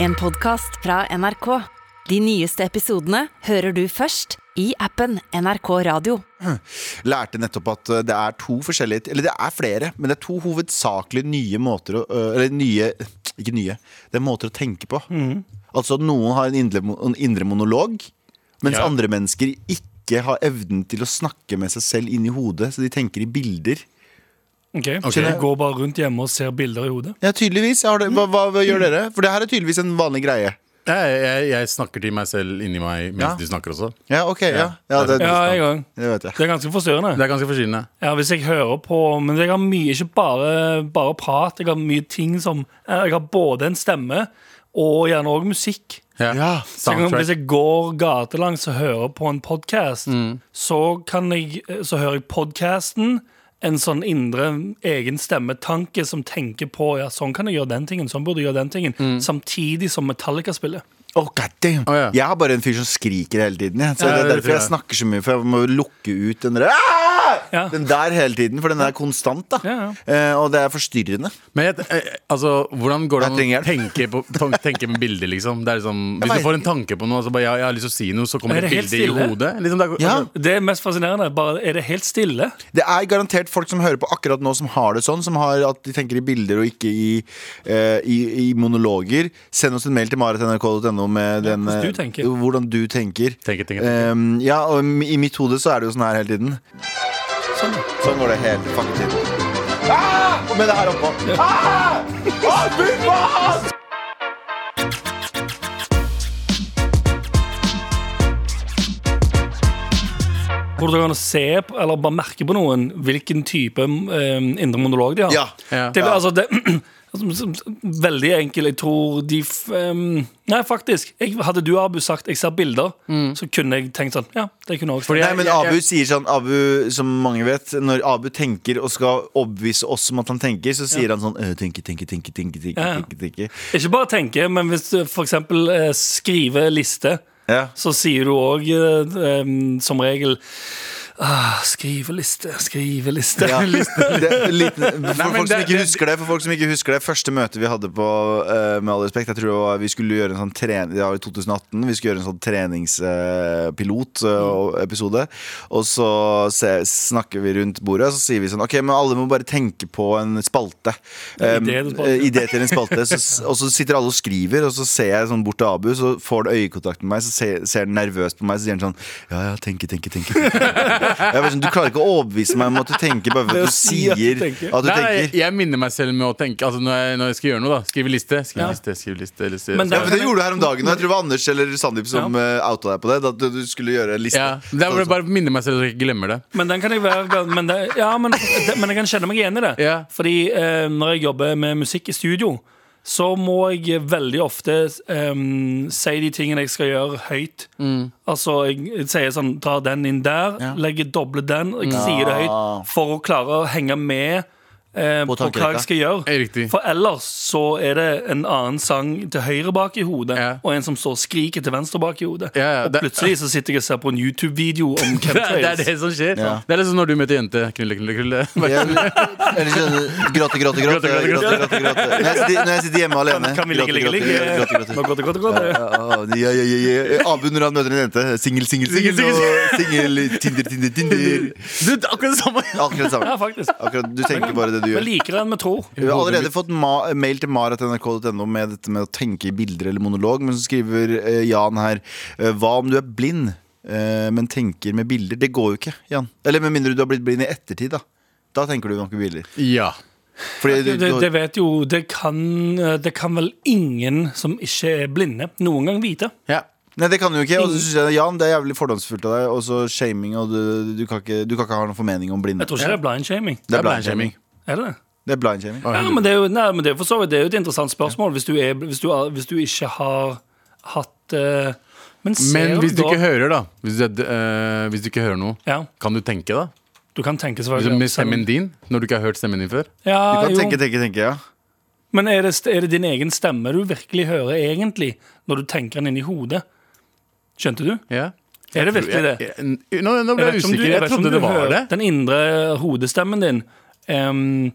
En podcast fra NRK. De nyeste episodene hører du først i appen NRK Radio. lærte nettopp at eh, det er to forskjellige Eller det er flere, men det er to hovedsakelig nye måter å øh, Eller nye Ikke nye. Det er måter å tenke på. Altså at noen har en indre, mo- en indre monolog, mens Ja. andre mennesker ikke har evnen til å snakke med seg selv inni hodet, så de tenker i bilder. Ok, Så Skjønner. du går bare rundt hjemme og ser bilder i hodet? Ja, tydeligvis. Har det, hva, hva, hva gjør dere? For det her er tydeligvis en vanlig greie. Jeg, jeg, jeg snakker til meg selv inni meg mens Ja. du snakker også. Ja, ok. Ja, ja, det, Ja, jeg òg. det vet jeg. Det er ganske forstyrrende. Det er ganske forstyrrende. Ja, hvis jeg hører på Men jeg har mye, ikke bare, bare prat. Jeg har mye ting som eh, Jeg har både en stemme og gjerne òg musikk. Ja. Ja, Så jeg kan, Soundtrack. hvis jeg går gatelangs og hører på en podkast, så, kan jeg, eh, så hører jeg podkasten. En sånn indre egen stemmetanke som tenker på ja, sånn kan jeg gjøre den tingen. sånn burde jeg gjøre den tingen Samtidig som Metallica spiller. Oh, god damn. Å, ja. Jeg er bare en fyr som skriker hele tiden. Jeg. Så Ja, Det er det derfor jeg tror jeg. snakker så mye, for jeg må lukke ut den der, «Ah!» Ja. den der hele tiden. For den er konstant, da. Ja, Eh, og det er forstyrrende. Men jeg, eh, altså, hvordan går det an Jeg å tenke, på, tan- tenke med bilder, liksom? Det er liksom Jeg hvis vet du får en tanke på noe, så bare ja, 'jeg har lyst til å si noe', så kommer Er det et det helt bilde i stille? hodet. Liksom, det er, Ja. Det er mest fascinerende. Bare er det helt stille. Det er garantert folk som hører på akkurat nå, som har det sånn. Som har at de tenker i bilder og ikke i, eh, i, i monologer. Send oss en mail til marit.nrk.no med den, hvordan du eh, tenker. hvordan du tenker. Tenker, tenker, tenker. Um, ja, og i mitt hode så er det jo sånn her hele tiden. Sånn. Sånn går det helt faktisk. Ah! Og Med det her oppå. Ah! Ah, fy faen! Hvor du kan se på, eller bare merke på noen hvilken type eh, indre monolog de har. Ja. Ja. Det, Ja. altså, det, veldig enkel. Jeg tror de f- em, Nei, faktisk. Jeg, hadde du, Abu, sagt 'jeg ser bilder', så kunne jeg tenkt sånn. Ja, det kunne jeg også. Nei, sagt. men jeg- Abu sier sånn Abu, som mange vet, når Abu tenker og skal overbevise oss om at han tenker, så sier han sånn «Øh, Tenke, tenke, tenke, tenke, tenke, Ja, ja. tenke, tenke. Ikke bare tenke, men hvis du f.eks. Eh, skriver liste, Ja. så sier du òg eh, em, som regel ah, 'skriveliste, skriveliste'. Ja. Det, er liten, for men folk som ikke det- det- husker det For folk som ikke husker det Første møte vi hadde på eh, Med all respekt Jeg tror det var, vi skulle gjøre en sånn trening Det var i 2018 Vi skulle gjøre en sånn eh, treningspilot-episode Og så se, snakker vi rundt bordet Og så sier vi sånn Ok, men alle må bare tenke på en spalte Um, En idé til spalte. eh, idé til en spalte så, s- Og så sitter alle og skriver Og så ser jeg sånn bort til Abu Så får han øyekontakt med meg Så ser, ser han nervøst på meg Så sier han sånn Ja, ja, tenke, tenke, tenke jeg bare sånn, Du klarer ikke å overbevise meg om at du tenker bare Ved ved å at du si at du sier tenker. at du Nei, jeg, tenker. jeg minner meg selv med å tenke altså, når, jeg, når jeg skal gjøre noe, da. Skrive liste. Skrive Ja. liste, skrive liste, liste. Men Ja, for det gjorde du her om dagen, og jeg tror det var Anders eller Sandeep som eh, outa deg på det. At du, du skulle gjøre en liste. Sånn, ja, det er bare, bare minne meg selv så jeg ikke glemmer det. Men den kan jeg være men, det, ja, men, det, men jeg kan kjenne meg igjen i det. Ja. Fordi eh, når jeg jobber med musikk i studio, så må jeg veldig ofte em, si de tingene jeg skal gjøre, høyt. Mm. Altså, jeg, sier sånn Dra den inn der, legger doble den. Jeg sier det Ja. høyt for å klare å henge med. eh, på, hva tankerekka. jeg skal gjøre. Eh, riktig. For ellers så er det en annen sang til høyre bak i hodet, Ja. og en som står og skriker til venstre bak i hodet. Ja, ja, og det- plutselig så sitter jeg og ser på en YouTube-video om Det er, det er chemtrails. det som skjer. Ja. Det er liksom når du møter jente. Knulle, knulle, knulle. Bare- Jeg- eller sånn, Gråte, gråte, gråte. Gråte, gråte, gråte, gråte, gråte. Når, jeg sitter, når jeg sitter hjemme alene. Kan vi ligge, ligge, gråte, gråte, ligge? gråte. Nå går det, går det, går det. Ja, ja, ja, ja, ja. Abu når han møter en jente. Singel, singel, Singel, singel. singel. og Singel, Tinder, Tinder, Tinder. Du, det er akkurat det samme! Akkurat det Ja, samme. faktisk. Akkurat, du tenker bare det du Vi gjør. liker det enn vi tror. Vi har allerede fått ma mail til marat.nrk.no med dette med å tenke i bilder eller monolog, men så skriver eh, Jan her eh, Hva om du er blind, eh, men tenker med bilder? Det går jo ikke, Jan. Eller med mindre du har blitt blind i ettertid, da. Da tenker du nok i bilder. Ja. Fordi du, Det, du, det vet jo Det kan, eh, det kan vel ingen som ikke er blinde, noen gang vite. ja. nei, det kan du jo ikke. Og så synes jeg Jan, det er jævlig fordomsfullt av deg. Og så shaming, og du, du, kan ikke, du kan ikke ha noen formening om blinde. Jeg tror ikke det er blindshaming. Det Det er er blindshaming. blindshaming. Er det det? Det er blindshaming. Ja, men det er jo, nei, men det er for så vidt Det er jo et interessant spørsmål hvis du, er, hvis du, er, hvis du ikke har hatt eh, Men ser Men hvis du da ikke hører, da. Hvis du, er- eh, hvis du ikke hører noe, Ja, kan du tenke, da? du kan tenke Liksom selvfølgelig med stemmen din, når du ikke har hørt stemmen din før? ja, Du kan jo. tenke, tenke, tenke, ja. Men er det, er det din egen stemme du virkelig hører egentlig Når du tenker den inn i hodet? Skjønte du? Ja. Er det virkelig det? Jeg- jeg- Nå, nå ble jeg vet ikke om usikker. du- Jeg vet ikke trodde om du det var hører det. Den indre hodestemmen din em,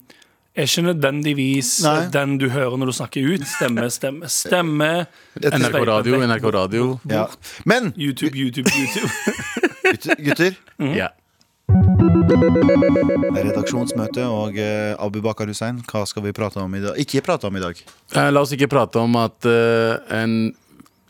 er ikke nødvendigvis Nei. den du hører når du snakker ut. Stemme, stemme, stemme. NRK Radio, NRK Radio. Ja. Men YouTube, YouTube, YouTube. gutter, gutter Ja. det er redaksjonsmøte, og eh, Abu Bakar Hussein, hva skal vi prate om i dag? Ikke prate om i dag. Eh, La oss ikke prate om at eh, en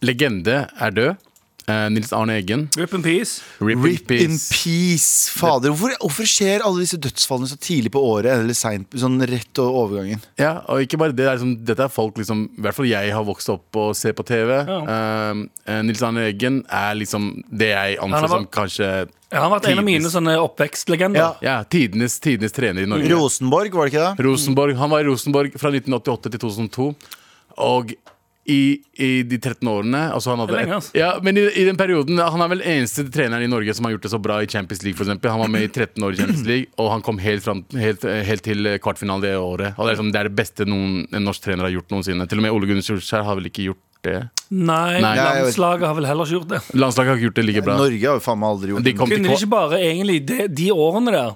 legende er død. Eh, Nils Arne Eggen. Rip in peace. Rip, Rip in in peace. peace. Fader, hvorfor, hvorfor skjer alle disse dødsfallene så tidlig på året? Eller sent, sånn rett over overgangen? Ja, og ikke bare det, det er liksom, Dette er folk liksom, i hvert fall jeg har vokst opp og ser på TV. Eh, Nils Arne Eggen er liksom det jeg Han anser har som vært- kanskje Ja, han har vært en av mine Tidligst. sånne oppvekstlegender. ja, tidenes, tidenes trener i Norge. Rosenborg, var det ikke det? Rosenborg, Han var i Rosenborg fra 1988 til 2002. Og i, i de 13 årene altså han hadde Det er lenge, altså. ja, Men i, i den perioden Han er vel eneste treneren i Norge som har gjort det så bra i Champions League. For eksempel. han var med i 13 år i Champions League, og han kom helt, fram, helt, helt til kvartfinale det året. Og det, er liksom, det er det beste noen, en norsk trener har gjort noensinne. Til og med Ole Gunnar Solskjær har vel ikke gjort det. Nei, Nei. landslaget har vel heller ikke gjort det. Landslaget har ikke gjort det like bra. Norge har jo faen meg aldri gjort De det. kom til Kunne de kva- ikke bare egentlig de, de årene der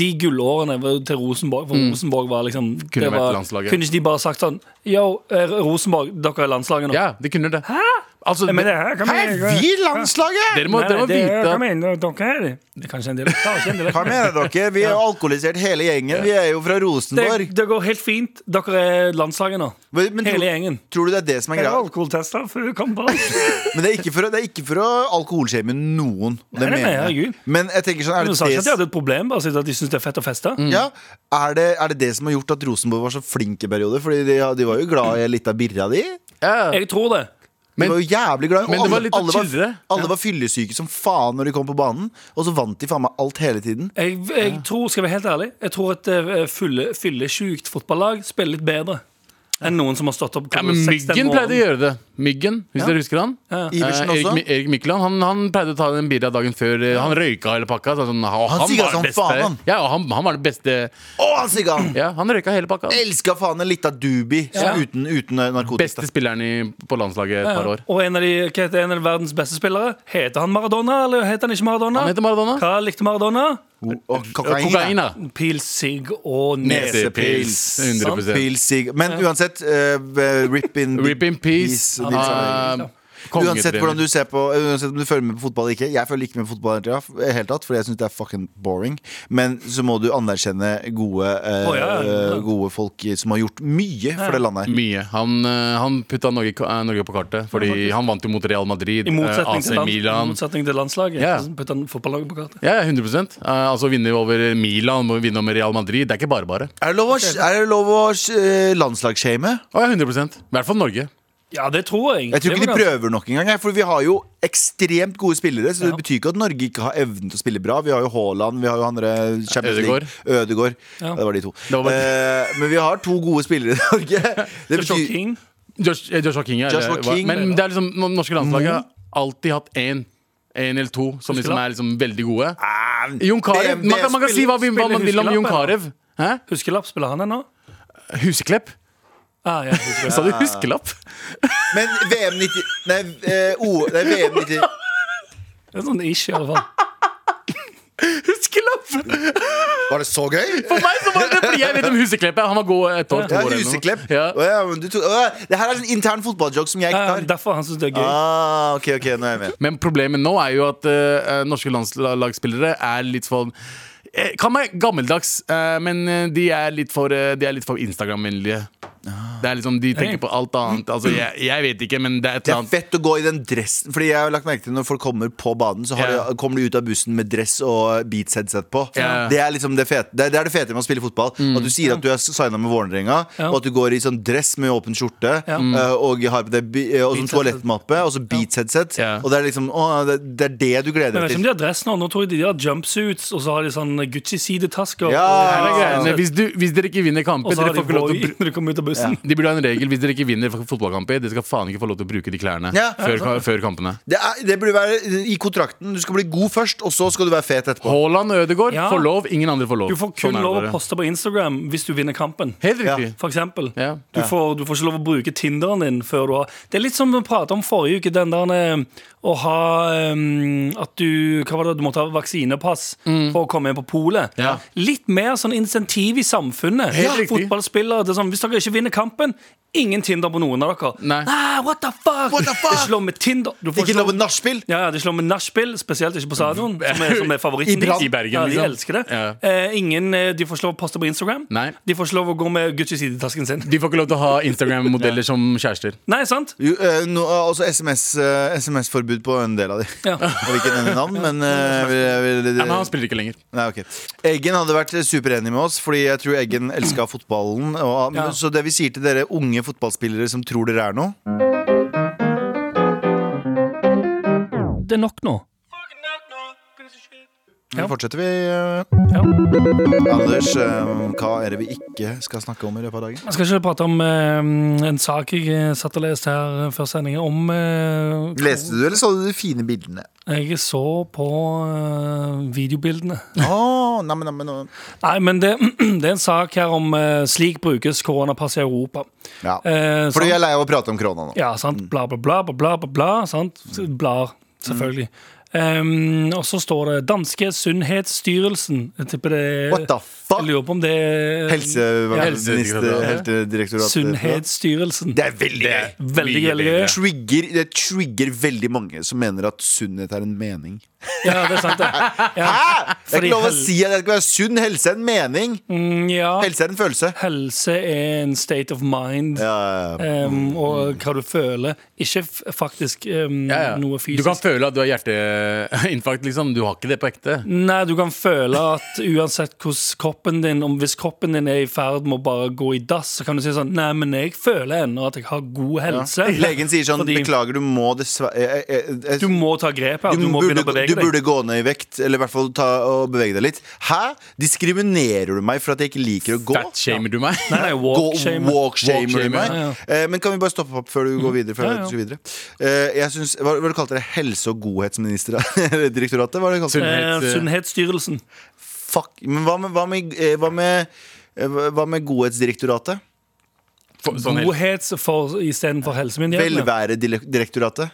De gullårene var- til Rosenborg For Rosenborg var liksom Kunne det vært var, landslaget. Kunne ikke de bare sagt sånn Yo, eh, Rosenborg, dere er landslaget nå Ja, de kunne det. Hæ? Altså, Men det dere, her, kom Hæ, igjen vi landslaget?! dere må, dere må det, vite at Kom igjen, dere er det er Kanskje en del det er ikke en del. Hva mener dere? Vi er jo alkoholisert hele gjengen. Vi er jo fra det, Rosenborg. det går helt fint Dere er landslaget nå Men, men Hele tror, gjengen tror du det er det som er Jeg har greia? alkoholtester før du kom på Men det er ikke for, å- det er ikke for å alkoholshame noen. Det Nei, nei, mener jeg. herregud. Men jeg tenker sånn er Du det, sa ikke at de det, hadde et problem Bare si at de synes det er fett å feste Mm. ja, er, det, er det det som har gjort at Rosenborg var så flink i perioder? Fordi de, de var jo glad i litt av birra di. ja. Jeg tror det De Men- var jo jævlig glad i men det var litt å alle, var, chillere. alle var fyllesyke som faen når de kom på banen, og så vant de faen meg alt hele tiden. Jeg, jeg tror, skal jeg være helt ærlig Jeg tror et eh, fylle, fyllesjukt fotballag spiller litt bedre enn noen som har stått opp Ja, men klokka seks den Myggen pleide å morgenen. gjøre det. Myggen, hvis dere husker han. Iversen Eh, også. Erik, Mi- Erik Mykland han, han pleide å ta den birra dagen før. eh, Han røyka hele pakka. så sånn, han, sigga var som det beste. faen, altså han. Ja, og han, han var det beste Å, han sigga! Ja, han røyka hele pakka. Jeg Elska faen en lita doobie som uten, uten narkotika. Beste spilleren i, på landslaget et par år. Og en av, de, hva heter, en av verdens beste spillere Heter han Maradona, eller heter han ikke Maradona? Han heter Maradona. Hva likte Maradona? Og kokain. Kokaina. Pilsig og nese Nesepils. 100 Pil, sigg. Men uansett, eh, rip in, Rip in peace. Nils Arne Eggen. Ah, kongetrener. liksom. Uansett hvordan du ser på Uansett om du følger med på fotball eller ikke. Jeg følger ikke med på fotball i det hele tatt, fordi jeg syns det er fucking boring. Men så må du anerkjenne gode, eh, Å, ja, ja. gode folk som har gjort mye for det landet her. Mye. Han, eh, han putta Norge, eh, Norge på kartet, fordi han vant jo mot Real Madrid, I eh, motsetning, AC til, land, i Milan. motsetning til landslaget Ja. Så putter han fotballaget på kartet Ja, ja, 100 Eh, Altså vinne over Milan, vinne over Real Madrid. Det er ikke bare bare. Er det lov å, er det lov å eh, landslagsshame? Å, ja, 100 I hvert fall Norge. Ja, det tror jeg Jeg tror Det ikke de var ganske- prøver nok engang. jeg, For vi har jo ekstremt gode spillere. Så det Ja. betyr ikke at Norge ikke har evnen til å spille bra. Vi har jo Haaland, vi har jo han derre Champions Ødegaard. League. Ødegaard. Ja. Ja. Det var de to. var Eh, men vi har to gode spillere i Norge. Det Joshua betyr King Josh, eh, Joshua King, ja, Joshua eller hva- King. Men det er liksom, no- norske landslaget har alltid hatt én. En eller to som liksom Huskelapp? er liksom veldig gode. Ah, Jon Carew. det- det Man, kan- man kan si hva, vi- hva man vil om spiller Jon huskelapp, Carew. Hæ? Huskelapp, spiller han ennå? Huseklepp? Ah, ja, Huskelapp. Sa du huskelapp? Men VM 90 Nei, eh, o, nei VM 90 Det er sånn ish i alle fall Huskelapp! Var det så gøy? For meg så var det fordi jeg vet om Huseklepp. ja. Han var god et år, to Ja, år. eller noe. Huseklepp. Ja. Å ja, men du tok- å, det her er en intern fotballjoke som jeg ikke Ja, tar. Derfor han synes det er gøy Ah, ok, ok, nå er jeg med. Men problemet nå er jo at eh, eh, norske landslagsspillere er litt for eh, Kan være gammeldags, eh, men eh, de er litt for, eh, de er litt for Instagram-vennlige. Ah. Det er liksom, De tenker på alt annet. Altså, jeg, jeg vet ikke, men det er et Det eller er annet fett å gå i den dressen. Fordi jeg har lagt merke til Når folk kommer på banen, så har Ja. de, kommer de ut av bussen med dress og beats headset på. Ja. Det er liksom det fete det, er- det er det fete med å spille fotball. At du sier at du er signa med Vålerenga, Ja. og at du går i sånn dress med åpen skjorte eh, og har på deg bi- eh, og sånn Beats headset. toalettmappe og så beats headset. Ja. Og det er liksom å, det, det er det du gleder Jeg deg vet ikke om til. de har dress nå. Nå tror jeg de har jumpsuits, og så har de sånn Gucci-sidetasker. Ja. Og- Det er greiene. Hvis, du, hvis dere ikke vinner kamper, Og så har dere de får ikke lov til Voi å bru- når de kommer ut av bussen. De burde ha en regel hvis dere ikke vinner fotballkamper. Dere skal faen ikke få lov til å bruke de klærne Ja. før, før kampene. Det, er, det burde være i kontrakten. Du skal bli god først, og så skal du være fet etterpå. Haaland og Ødegaard Ja. får lov, ingen andre får lov. Du får Sånn kun er det lov å bare. poste på Instagram hvis du vinner kampen. Helt riktig. For eksempel. Ja. Du, får, du får ikke lov å bruke Tinderen din før du har Det er litt som vi pratet om forrige uke, den der eh, å ha eh, At du Hva var det, du måtte ha vaksinepass for å komme inn på polet. Ja. Litt mer sånn insentiv i samfunnet. Helt riktig. Fotballspillere. Det er sånn, hvis dere ikke vinner kampen, ingen Tinder på noen av dere. Ah, Nei. what the fuck? What the fuck? Det er ikke lov med Tinder. Du får Ikke lov med nachspiel! sånn. ja, ja, de slår med nachspiel, spesielt ikke på stadion, som er, som er I favoritten Brann. deres. I Bergen, Ja, de liksom. elsker det. Ja. Eh, ingen, eh, de får slå å poste på Instagram. Nei. De får slå å gå med Gucci-sidetasken sin. De får ikke lov til å ha Instagram-modeller som kjærester. Nei, sant? Jo, eh, no, også SMS-forbud på en del av de. Ja. Jeg vil ikke nevne navn, men eh, jeg vil, jeg vil, eh, Nei, men han spiller ikke lenger. Nei, ok Eggen hadde vært superenig med oss, fordi jeg tror Eggen elska fotballen. Og, Ja. Så det vi sier til dere unge fotballspillere som tror dere er noe Det er nok nå. Nå Ja. fortsetter vi. eh, Ja. Anders, eh, hva er det vi ikke skal snakke om i løpet av dagen? Jeg skal ikke prate om eh, en sak jeg eh, satt og leste her eh, før sending, om eh, Leste du, eller så du de fine bildene? Jeg så på eh, videobildene. Oh, nei, men, nei, men, Nei, men det, det er en sak her om eh, slik brukes koronapass i Europa. ja. Eh, Fordi sant? jeg er lei av å prate om krona nå. Ja, sant. Bla, bla, bla, bla, bla, bla, bla sant? Mm. Blar, selvfølgelig. Ehm, og så står det Danske Sunnhetsstyrelsen. Jeg tipper det er- What the Jeg fuck? lurer på om det er Helseminister, Ja. Helsedirektoratet. Sunnhetsstyrelsen. Det er veldig gøy. Veldig gøy. Veldig gøy. Trigger, det trigger veldig mange som mener at sunnhet er en mening. Ja, det er sant, det. Hæ?! Det er Fordi ikke lov å hel- si at det skal være sunn helse er en mening! Mm, ja. Helse er en følelse. Helse er en state of mind. Ja, Mm. ehm, og hva du føler. Ikke f faktisk ehm, Ja, ja. noe Du fysisk. kan føle at du har hjerteinfarkt, liksom. Du har ikke det på ekte. Nei, du kan føle at uansett hvordan kroppen din om Hvis kroppen din er i ferd med å bare gå i dass, så kan du si sånn Nei, men jeg føler ennå at jeg har god helse. Legen sier sånn Fordi- 'beklager, du må dessverre eh, eh, eh, Du må ta grep her. Du, må burde, begynne å bevege du deg. burde gå ned i vekt, eller i hvert fall ta og bevege deg litt. Hæ? Diskriminerer du meg for at jeg ikke liker å gå? Fatshamer du meg? Nei, nei, walk shame. Gå- Walkshamer du Walkshamer, meg? ja, Eh, Men kan vi bare stoppe opp før du går videre? Før Ja, jeg vet ja. du skal videre? Eh, Jeg synes, hva, hva du kalte det? Helse- og godhetsdirektoratet? Hva er det du kalte det? Eh, Sunnhetsstyrelsen. Fuck. Men hva med, hva med, eh, hva med eh, hva med Godhetsdirektoratet? For- Sånn helt Godhets for- istedenfor helsemyndighetene. Velværedirektoratet?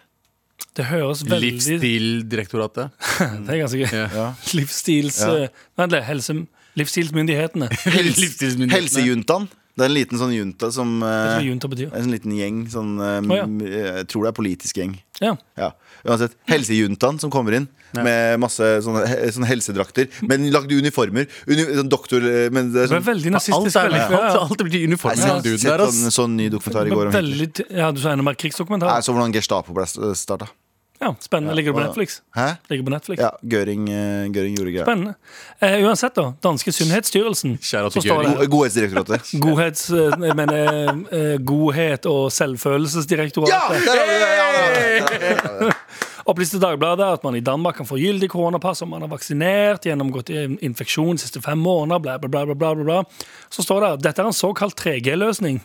Det høres veldig Livsstildirektoratet. Det er ganske gøy. Ja. Livsstils... Ja. eh, Vent litt. Helse... Livsstilsmyndighetene. Livsstilsmyndighetene. Helsejuntaen? Det er en liten sånn junta som Hva eh, junta betyr. En sånn liten gjeng. Sånn, eh, Å, ja. m- eh, Jeg tror det er politisk gjeng. Ja. Ja, uansett Helsejuntaen som kommer inn med masse sånne, he- sånne helsedrakter. Men lagde uniformer. Uni, sånn doktor eh, men det er Det sånn, er veldig Alt nazistisk. er veldig- ja, alt, ja. alt blir Jeg uniformen har av duden sett der, ass. en sånn ny dokumentar i går om Hitler. Veldig, ja, du sa enda mer krigsdokumentar. Jeg så hvordan Gestapo ble starta. Ja, spennende. Ligger det på Netflix? eh, Hæ? Ligger på Netflix. Ja, Göring, eh, Göring gjorde greier. Spennende. Eh, uansett, da. Danske Sunnhetsstyrelsen. Shout out Så til står Göring. det Go- Godhetsdirektoratet. Godhets, eh, jeg mener, eh, godhet og selvfølelsesdirektoratet. Ja! Der har vi det! Ja, ja, ja, ja, ja, ja. Opplyste Dagbladet at man i Danmark kan få gyldig koronapass om man er vaksinert, gjennomgått en infeksjon de siste fem måneder, bla, bla, bla. bla, bla, bla, bla. Så står det at dette er en såkalt 3G-løsning.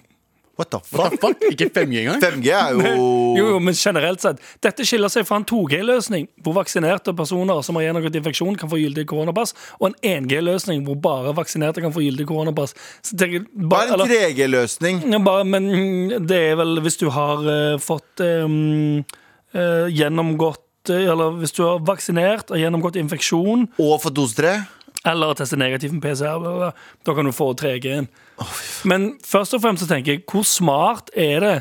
What the What fuck? the fuck? Ikke 5G engang? 5G er jo Jo, jo, men generelt sett. Dette skiller seg fra en 2G-løsning, hvor vaksinerte personer som har gjennomgått infeksjon, kan få gyldig koronapass, og en 1G-løsning, hvor bare vaksinerte kan få gyldig koronapass. Så tenker, jeg, Hva er en bare, eller, 3G-løsning? ja, bare, men mm, det er vel hvis du har eh, fått eh, mm, eh, gjennomgått eh, eller hvis du har vaksinert og gjennomgått infeksjon Og for dose 3? eller testet negativt med PCR, bla, bla, bla, da kan du få 3G-en. Men først og fremst så tenker jeg, hvor smart er det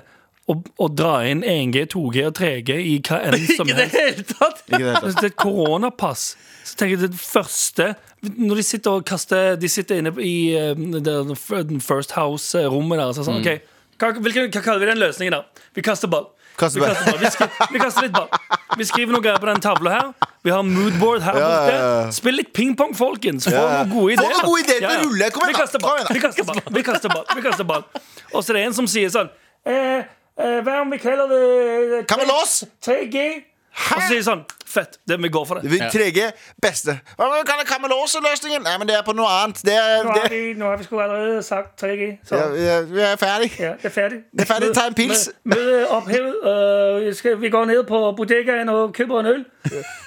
å, å dra inn 1G, 2G og 3G i hva enn som Ikke i det helst? hele tatt! Ikke det? Hvis det er et koronapass, så tenker jeg det første Når de sitter og kaster De sitter inne i eh, det der First House-rommet der, så er Mm. det sånn OK, hva, hvilken, hva kaller vi den løsningen der? Vi kaster ball. Kaster vi, ball. kaster ball. Vi, skri, vi kaster litt ball. Vi skriver noe greier på den tavla her. Vi har moodboard her Ja, borte. ja, ja. Spill litt pingpong, folkens. Få Ja, ja. noen gode Få ideer. noen gode ideer til å rulle. Kom igjen vi da. kaster Kom ball. igjen da. Vi kaster ball. Vi kaster ball. Vi kaster ball. Og så er det en som sier sånn eh, eh, Hva om vi kaller det Kan vi låse? 3G? Og så sier de sånn Fett. Det, vi går for det. Vi trege beste. Hva men kan det komme låseløsningen? Nei, men det er på noe annet. Det er, Nu har det, vi, nu har vi sgu allerede sagt 3G, så ja, ja, vi er- vi er ferdig. det er færdigt. Det er færdigt. Tag en pils. Møde ophævet. Øh, vi skal, vi går ned på bodegaen og køber en øl.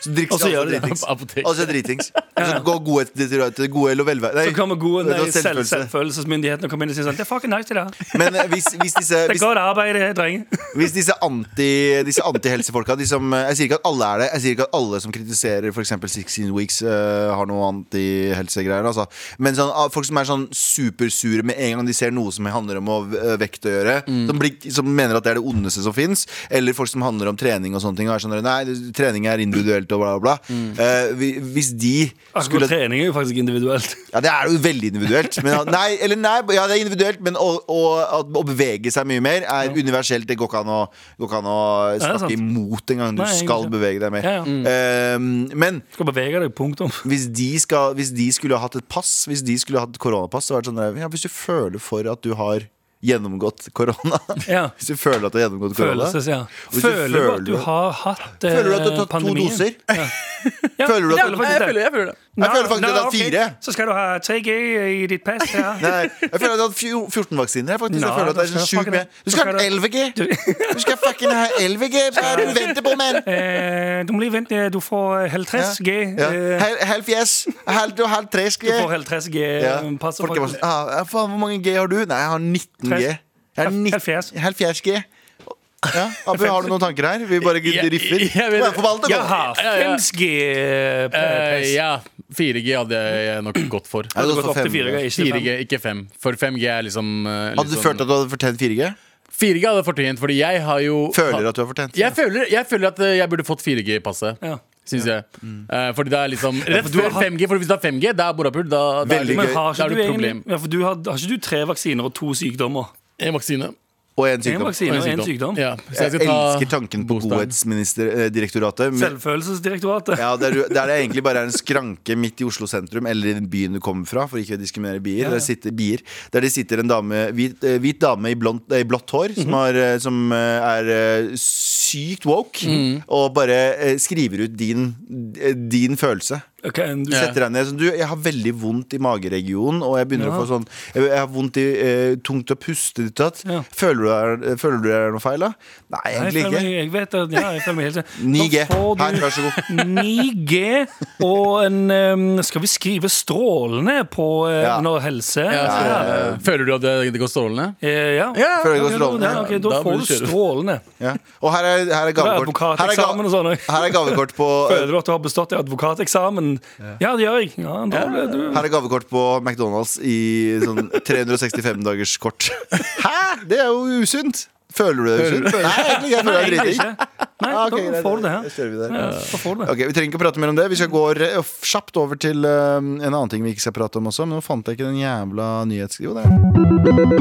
Så drikker Og så vi gjør alt de det. dritings. Apotek. Og så dritings. Og så går gode til, til gode eller velvære. Nei, Så kommer gode det nei, var selv, selvfølelse. selvfølelsesmyndigheten og kommer inn og sier sånn Det er fucking nice, det der. Men eh, hvis, hvis disse, Det er hvis, godt arbeid, det her, drenge. hvis disse anti- disse antihelsefolka de som, eh, Jeg sier ikke at alle er det. Jeg sier ikke at alle som kritiserer f.eks. 16 Weeks, eh, har noe antihelsegreier. Altså. Men sånn, ah, folk som er sånn supersure med en gang de ser noe som handler om å eh, vekt å gjøre, Mm. som, blir, som mener at det er det ondeste som fins, eller folk som handler om trening og sånne ting, og er sånn Nei, det- trening er individuelt og bla, bla, bla. Eh, vi- hvis de Mm. Akkurat Altså, trening er jo faktisk individuelt. Ja, det er jo veldig individuelt. Men, at- nei, eller nei, ja, det er individuelt, men å, å, at- å bevege seg mye mer er universelt. Det går ikke an å, går ikke an å Ja, det er sant. snakke imot engang. Du Nei, skal egentlig. bevege deg mer. Ja, Mm. ja. Ehm, men Skal bevege deg, punktum. hvis de, skal, hvis de skulle hatt et pass, hvis de skulle hatt koronapass, så hadde det vært sånn der, ja, hvis du føler for at du har gjennomgått korona Ja. Hvis du føler at du har gjennomgått korona Følelses, ja. Hvis du Føler du at du føler- har hatt eh, Føler du at du har tatt pandemien? to doser? Ja, Føler du at jeg du- føler faktisk Jeg det. føler, jeg føler det. Jeg føler faktisk at Nå, jeg har okay. fire. Så skal du have 3G i dit pas her. Nei, jeg føler at jeg har hatt fjo- 14 vaksiner. Jeg, faktisk. jeg Nei, føler at det du er skal sånn sjukt fucking- mye. Du skal ha du- 11G! Du skal fucking ha 11G! Hva er det du venter på, mann? Eh, Øh, du må lige vente, øh, du får øh, 50G. Ja. øh, Hel- Halv yes, halv, du, halv tre Du G. får 50G. Ja. eh, Passer Folk er bare sånn faktisk. ah, ja, faen, Hvor mange G har du? Nei, jeg har 19 G. Jeg har 19 70. Halvfjerds G. Ja, Abu, har du noen tanker her? Vi bare Jeg- riffer. jeg vet- Bare forvalt det Jeg godt. har Ja, ja. 5G. eh, Eh, pass. ja, 4G hadde jeg nok gått for. Ja, Det det har går gått for opp til 4G, 5G. ikke 5G. 4G, ikke 5. For 5G er liksom eh, litt Hadde du sånn- følt at du hadde fortjent 4G? 4G hadde jeg fortjent, fordi jeg har jo Føler at du har fortjent? jeg føler, jeg føler at eh, jeg burde fått 4G i passet. Ja. Syns jeg. Eh, fordi det er liksom Rett du før har- 5G, for hvis det er 5G, da er borapul. Da, da er Veldig det- Men gøy. har Da ikke, er du det et egentlig, problem. ja, for du har, har ikke du tre vaksiner og to sykdommer? En vaksine. Og én En sykdom. vaksine og en sykdom? Ja, så jeg Jeg skal ta elsker tanken på eh, bostad. Godhetsdirektoratet. Selvfølelsesdirektoratet. Ja, der, du- der det egentlig bare er en skranke midt i Oslo sentrum, eller i byen du kommer fra, for ikke å diskriminere bier. Der, sitter, bier, der det sitter en dame, hvit, eh, hvit dame i, blondt- eh, i blått hår Mhm. som, har, eh, som eh, er eh, sykt woke, Mhm. og bare eh, skriver ut din, eh, din følelse. Ok, en- du Ja. Setter deg ned sånn, du, Jeg har veldig vondt i mageregionen, og jeg begynner å få sånn Jeg, jeg har vondt i eh, tungt å puste. Ditt, og datt. Ja. Føler, du det er, føler du det er noe feil, da? Nei, Jeg, egentlig føler meg, ikke. jeg vet at ja, jeg føler meg helt 9G. Da får du Her, vær så god. 9G og en em, Skal vi skrive strålende på eh, Ja. når helse? Ja, så, Ja, ja. eh, Føler du at det, det går strålende? ja. Føler du det går Ja, strålende? ja, ok, da Eh, Da får burde du du kjøre. strålende. Ja. Og her er, her er er gavekort. Her er, ga- advokateksamen og sånn også. her er gavekort på Føler du at du har bestått i advokateksamen? Ja, det gjør jeg. Ja, da ble du Her er gavekort på McDonald's i sånn 365 dagers kort. Hæ?! Det er jo usunt! Føler du det er usunt? Nei, egentlig ikke. jeg føler Nei, det er egentlig driting. ikke. Nei, Ah, ok, da greit, får du det da her. kjører vi der. Ja, da får du det. Ok, Vi trenger ikke å prate mer om det. Vi skal gå re- f- kjapt over til eh, en annen ting vi ikke skal prate om også. Men nå fant jeg ikke den jævla nyhetsskrivet. der.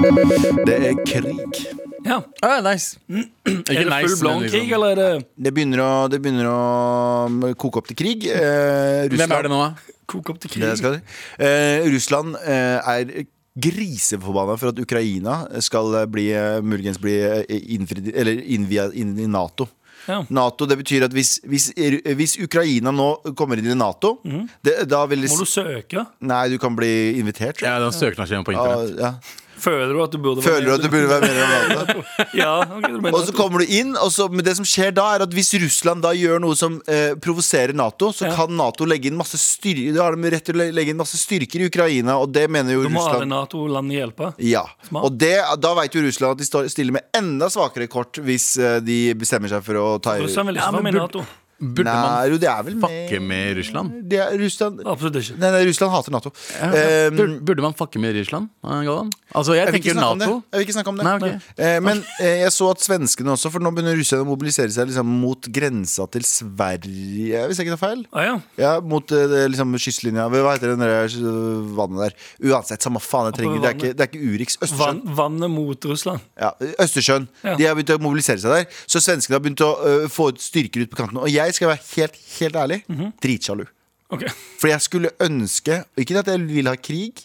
Det er krig. Ja. Ah, nice. Er det full blown krig, liksom- eller er det Det begynner å, det begynner å koke opp til krig. Eh, Hvem er Russland det nå, da? kok opp til krig? Det skal de. Eh, Russland eh, er griseforbanna for at Ukraina skal eh, bli, eh, muligens bli eh, innfridd Eller innvia inn i Nato. Ja. Nato, Det betyr at hvis, hvis, hvis Ukraina nå kommer inn i Nato, det, da vil det Mhm. Må du s- søke? Nei, du kan bli invitert. tror jeg. Ja, den søknadsskjemaen på Ja, internett. ja. Føler du at du burde Føler du at du burde være med i Nato? Ja, ok, du mener Og så kommer du inn, og så, men det som skjer da er at hvis Russland da gjør noe som eh, provoserer Nato, så Ja. kan Nato legge inn masse styrker Da har de rett til å legge inn masse styrker i Ukraina, og det mener jo Du må alle Russland. Nato-land hjelpe. Ja, Smart. og det, da vet jo Russland at de står- stiller med enda svakere kort hvis eh, de bestemmer seg for å ta Russland vil ikke være med i Nato. Burde Nei, man jo, det er vel fucke med med Russland? det er Russland Absolutt ikke. Nei, nei, Russland hater Nato. Eh, Burde, burde man fucke med Russland? eh, Galvan? Altså, jeg jeg, vil ikke tenker snakke om det. Nato. jeg vil ikke snakke om det. Nei, ok. Eh, men eh, jeg så at svenskene også, for nå begynner russerne å mobilisere seg liksom, mot grensa til Sverige, hvis jeg ikke tar feil. Ah, ja. Ja, mot eh, det, liksom kystlinja Hva heter det der eh, vannet der? Uansett, samme faen jeg trenger Det er ikke, det er ikke Urix, Vann, Østersjøen vannet mot Russland. ja, Østersjøen, Ja. de har begynt å mobilisere seg der Så svenskene har begynt å eh, få ut styrker ut på kanten Og jeg skal være helt, helt ærlig Mhm. Dritsjalu Ok. For jeg skulle ønske, ikke at jeg vil ha krig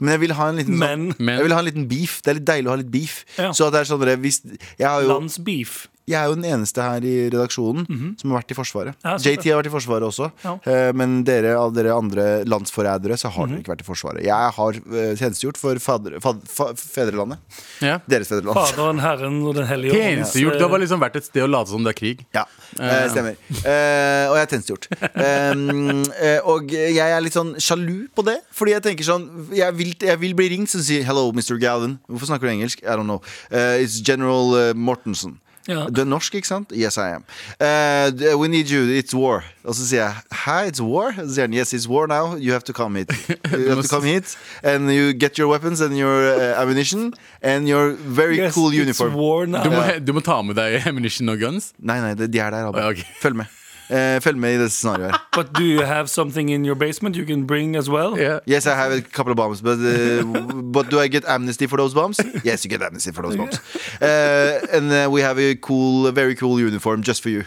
men jeg vil ha en liten, sånn, Men- Men- jeg vil ha en liten beef Det er litt deilig å ha litt beef Ja. Så at det er sånn, dere, hvis, jeg har jo, Landsbeef. Jeg er jo den eneste her i redaksjonen som har vært i Forsvaret. Mhm. Ja, så JT har vært i Forsvaret også. Ja. Eh, Men dere av dere andre landsforrædere så har Mhm. dere ikke vært i Forsvaret. Jeg har eh, tjenestegjort for fader, fad, fa, fedrelandet. Ja. Deres fedreland. Faderen, Herren og Den hellige ånd. Tjenestegjort. Du har bare liksom vært et sted og latet som det er krig. Ja, eh, stemmer. Eh, og jeg er tjenestegjort. Um, eh, og jeg er litt sånn sjalu på det. Fordi jeg tenker sånn Jeg vil, jeg vil bli ringt som sier 'Hello, Mr. Galvin'. Hvorfor snakker du engelsk? I don't know. Eh, it's General eh, Mortensen. Ja. Du er norsk, ikke sant? Yes, I am. Eh, d- we need you. It's war. Og så sier jeg 'Hæ, it's war?' Og så sier han 'Yes, it's war now. You have to come hit. You have to come hit And you get your weapons and your eh, ammunition and your very Yes, cool it's uniform. war now. Du må, du må ta med deg ammunition og guns. Nei, nei, det- de er der, Albert. Å, ja, ok. Følg med. Eh, følg med i det scenarioet her. But do you have something in your basement you can bring as well? Ja. Yes, I have a couple of bombs, but, uh, but do I get amnesty for those bombs? Yes, you get amnesty for those bombs. Uh, and uh, we have a cool, a very cool uniform just for you.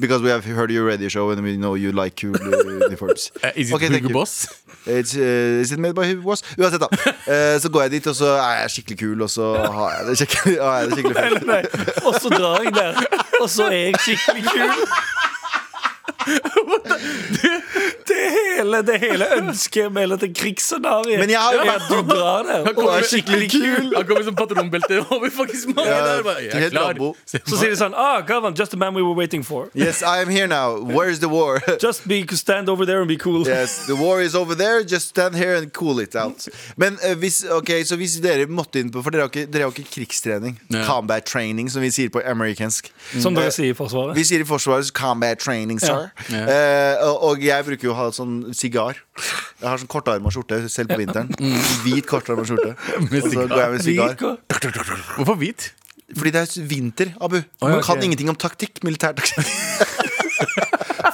Because we have heard your radio show and we know you like cool uh, uniforms. Eh, Is it Ok, thank Hugo you. Boss? It's, uh, is it made by Hugo Boss? Uansett, da. Eh, så går jeg dit, og så er jeg skikkelig kul, og så har jeg det skikkelig, har jeg det skikkelig fett. Nei, og så drar jeg der, og så er jeg skikkelig kul. Det hele, det hele ønsket med hele det krigsscenarioet Men jeg har jo er vært- at du drar der og er skikkelig kul. Han kommer som patronbelte over faktisk mange Ja, der. Bare, Jeg er helt klar. lambo. Se på- Så sier de sånn Ah, Gavan, just the man we were waiting for. Yes, I am here now. Where's the war? Just be, stand over there and be cool. Yes, the war is over there, just stand here and cool it out Men eh, hvis, ok, så hvis dere måtte inn på For dere har ikke, dere har ikke krigstrening Nei. Combat training, som vi sier på amerikansk Som dere Eh, sier i Forsvaret. Vi sier i forsvaret combat training, sir Ja. Ja. Eh, og, og jeg bruker jo å ha sånn sigar Jeg har sånn kortarmet skjorte, selv på vinteren Hvit kortarmet skjorte Og Med så sigar. går jeg med sigar Sigar. Hvorfor hvit? Fordi det er vinter, Abu ja, Man kan ok. ingenting om taktikk, militær taktikk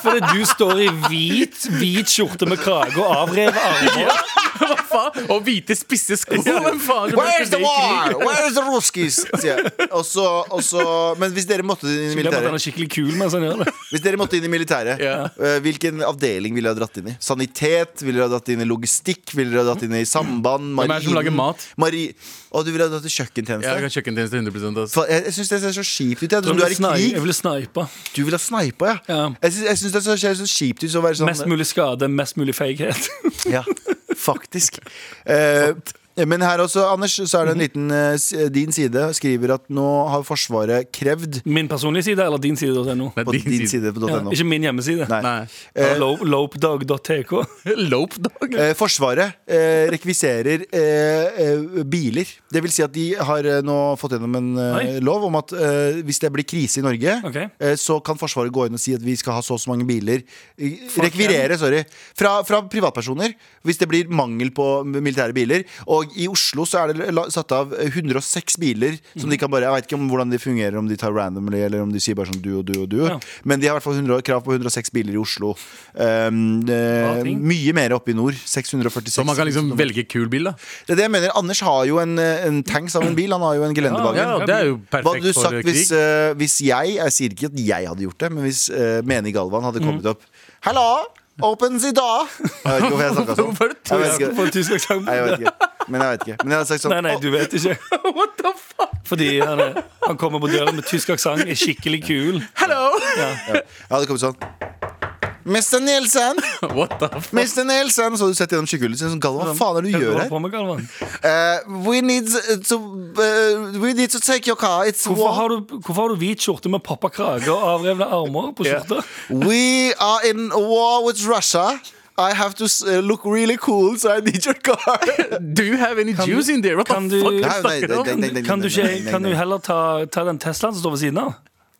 Fordi du står i hvit, hvit skjorte med krage og avrevet armer. Hva faen? Og hvite, spisse sko? Hvem faen? Where's the Det er krig. war? Where's the ruskies? Sier jeg. Og så, og så Men hvis dere måtte inn i Glem at han militæret, er skikkelig kul mens han gjør det. hvis dere måtte inn i militæret Ja. eh, hvilken avdeling ville dere ha dratt inn i? Sanitet? Ville dere ha dratt inn i logistikk? Ville dere ha dratt inn i samband? er det som lager mat? Mari og du ville ha dratt i Ja, Jeg kjøkkentjeneste? har kjøkkentjeneste 100 ass. Fa- Jeg, jeg syns det ser så kjipt ut. Jeg. Som du er i Jeg krig. ville snipe. Du vil ha snipa, ja. Ja. Jeg syns- Jeg syns det ser så kjipt ut å være sånn Mest mulig skade, mest mulig feighet. Ja, faktisk. Eh, men her også, Anders, så er det en liten eh, s- Din side skriver at nå har Forsvaret krevd Min personlige side eller din side.no? Det er på din, side på Ja, .no. ikke min hjemmeside. Nei. Nei. Ja, lo- Lopedog.tk. Lope, dog. Eh, forsvaret eh, rekviserer eh, eh, biler. Det vil si at de har eh, nå fått gjennom en eh, Oi. lov om at eh, hvis det blir krise i Norge, Ok. eh, så kan Forsvaret gå inn og si at vi skal ha så og så mange biler. Eh, Rekvirere, sorry. Fra, fra privatpersoner, hvis det blir mangel på militære biler. Og i Oslo så er det la- satt av 106 biler som de kan bare Jeg vet ikke om hvordan de fungerer, om de tar randomly, eller om de sier bare sånn du og du og du. Ja. Men de har i hvert fall 100 krav på 106 biler i Oslo. Um, Bra eh, ting. mye mer oppe i nord. 646 Så man kan liksom velge kul bil, da. Det er det jeg mener. Anders har jo en, eh, en tanks av en bil. Han har jo en gelendervagen. Ja, Det er jo Hva hadde perfekt du for sagt eh, hvis, krig. eh, hvis jeg Jeg sier ikke at jeg hadde gjort det, men hvis uh, Meni Galvan hadde kommet Mm. opp Hallo! Open sida! Jeg vet ikke hvorfor jeg snakka sånn. Hvorfor er det Jeg vet ikke. På en tysk aksent. Nei, jeg vet ikke. Men jeg vet ikke. Men jeg hadde sagt sånn Nei, nei, du vet ikke. What the fuck? Fordi han, er, han kommer på døren med tysk aksent, er skikkelig kul. Hello! Jeg hadde kommet sånn Mr. Nielsen! What the fuck? Mr. Nielsen! Så hadde du sett gjennom skyggehulet og sånn Galvan, hva faen er det Hva du gjør holder du her? på med, Galvan? Eh, we, need to, eh, we need to take your car. It's Hvorfor war. har du, hvorfor har du hvit skjorte med pappa krage og avrevne armer på skjorta? We are in a war with Russia. I have to s- uh, look really cool, so I need your car. Do you have any juice in there? What the kan du- fuck? Nei, Hva snakker du om? Kan du, ikke, kan du heller ta, ta den Teslaen som står ved siden av?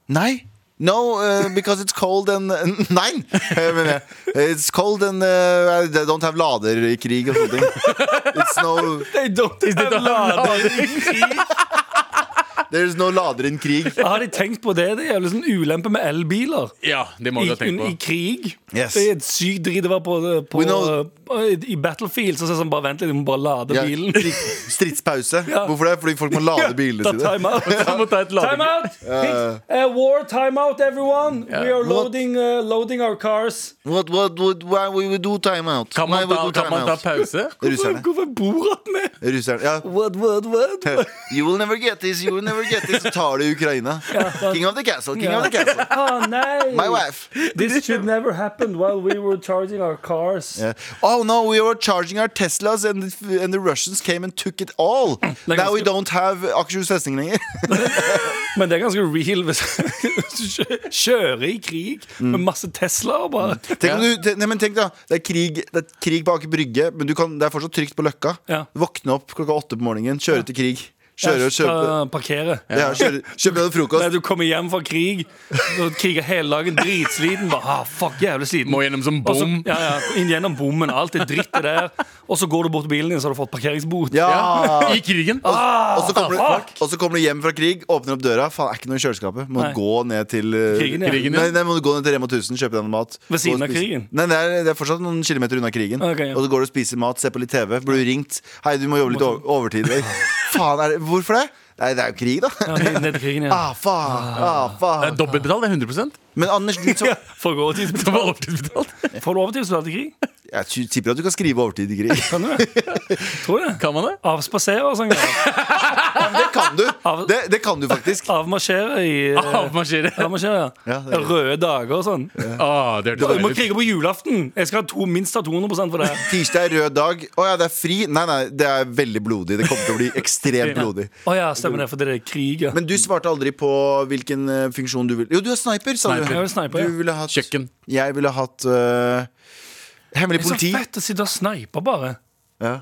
Nei. No, uh, because it's cold and uh, Nei! eh, mener jeg. It's cold and uh, they don't have lader i krig og sånne ting. It's no, They don't have there's no lader in krig. Har de tenkt på det? Det er jo liksom ulempe med elbiler. Ja, det må I, du ha tenkt i på. krig. Yes. Det er et sykt drit å være på, på eh, We know- I Battlefield så sier sånn bare vent litt, vi må bare lade Ja, bilen. stri- stridspause. Ja. Hvorfor det? Fordi folk må lade bilene Ta sine. time out. Du må ta et lade- Time out! Uh, war, time out, everyone! We are loading, uh, loading our cars. What, what, what, why we would do timeout? Kan man Why we ta, do kan man ta timeout? pause? Russerne. Hvorfor bor han med? Russerne. Ja. What, what, what? You will never get this, you will never over GT, så tar du Ukraina. King of the castle, king of the castle. Oh, nei! My wife. This should never happen while we were charging our cars. Yeah. Oh no, we were charging our Teslas and the, and the Russians came and took it all. Now we don't have Akershus festning lenger. Men det er ganske real hvis hvis du kjø- kjører i krig med masse Teslaer bare. Tenk, om du, te- nei, men tenk da, det er krig, det er krig på Aker Brygge, men du kan, det er fortsatt trygt på Løkka. Ja. Våkne opp klokka åtte på morgenen, kjøre til krig. Kjøre og kjøpe Skal Parkere. ja. kjøre, kjøpe deg Nei, frokost. du kommer hjem fra krig, og kriger hele dagen, dritsliten. Bare, ah, fuck, jævlig sliten Må gjennom som Og så- bom. Ja, ja, inn gjennom bommen. Alt er dritt det der. Og så går du bort til bilen din, så har du fått parkeringsbot. Ja. I krigen. Og så kommer, Ah, du, og så kommer du hjem fra krig, åpner opp døra, faen, er ikke noe i kjøleskapet. Må Nei. gå ned til eh, Krigen, ja. Krigen, ja. nei, nei, må du gå ned til Rema 1000, kjøpe deg noe mat. Ved siden Gå og av spise- krigen? Nei, det er, det er fortsatt noen kilometer unna krigen. Ok, ja. Og så går du og spiser mat, ser på litt TV, blir du ringt. Hei, du må jobbe litt over- overtid. i dag. faen, er det, hvorfor det? Nei, det er jo krig, da. Ja, ned- ned til krigen, ja. Ah, faen, ah, Det er faen. dobbeltbetalt, det er 100 Men Anders, du som For å gå over til Det var overtidsbetalt. Får du overtid hvis du er til krig? Jeg ty- tipper at du kan skrive overtid i krig. Kan du det? Tror det. Kan man det? Avspasere og sånn greier. Det kan du! Av- Det, det kan du faktisk. Avmarsjere i eh, Ah, Avmarsjere. Avmarsjere, ja. Ja, det er- Røde dager og sånn. Ah, det Du må hørtes deilig ut. krige på julaften! Jeg skal ha to, minst ha 200 for det. her. Tirsdag er rød dag. Å ja, det er fri? Nei, nei, det er veldig blodig. Det kommer til å bli ekstremt blodig. Å ja, stemmer det, for det er krig, ja. Men du svarte aldri på hvilken eh, funksjon du vil Jo, du er sniper, sa Sniper. du. Jeg er sniper, ja. du ville hatt, Kjøkken. Jeg ville hatt eh, hemmelig Det er så politi. fett å sitte og snipe, bare. Ja.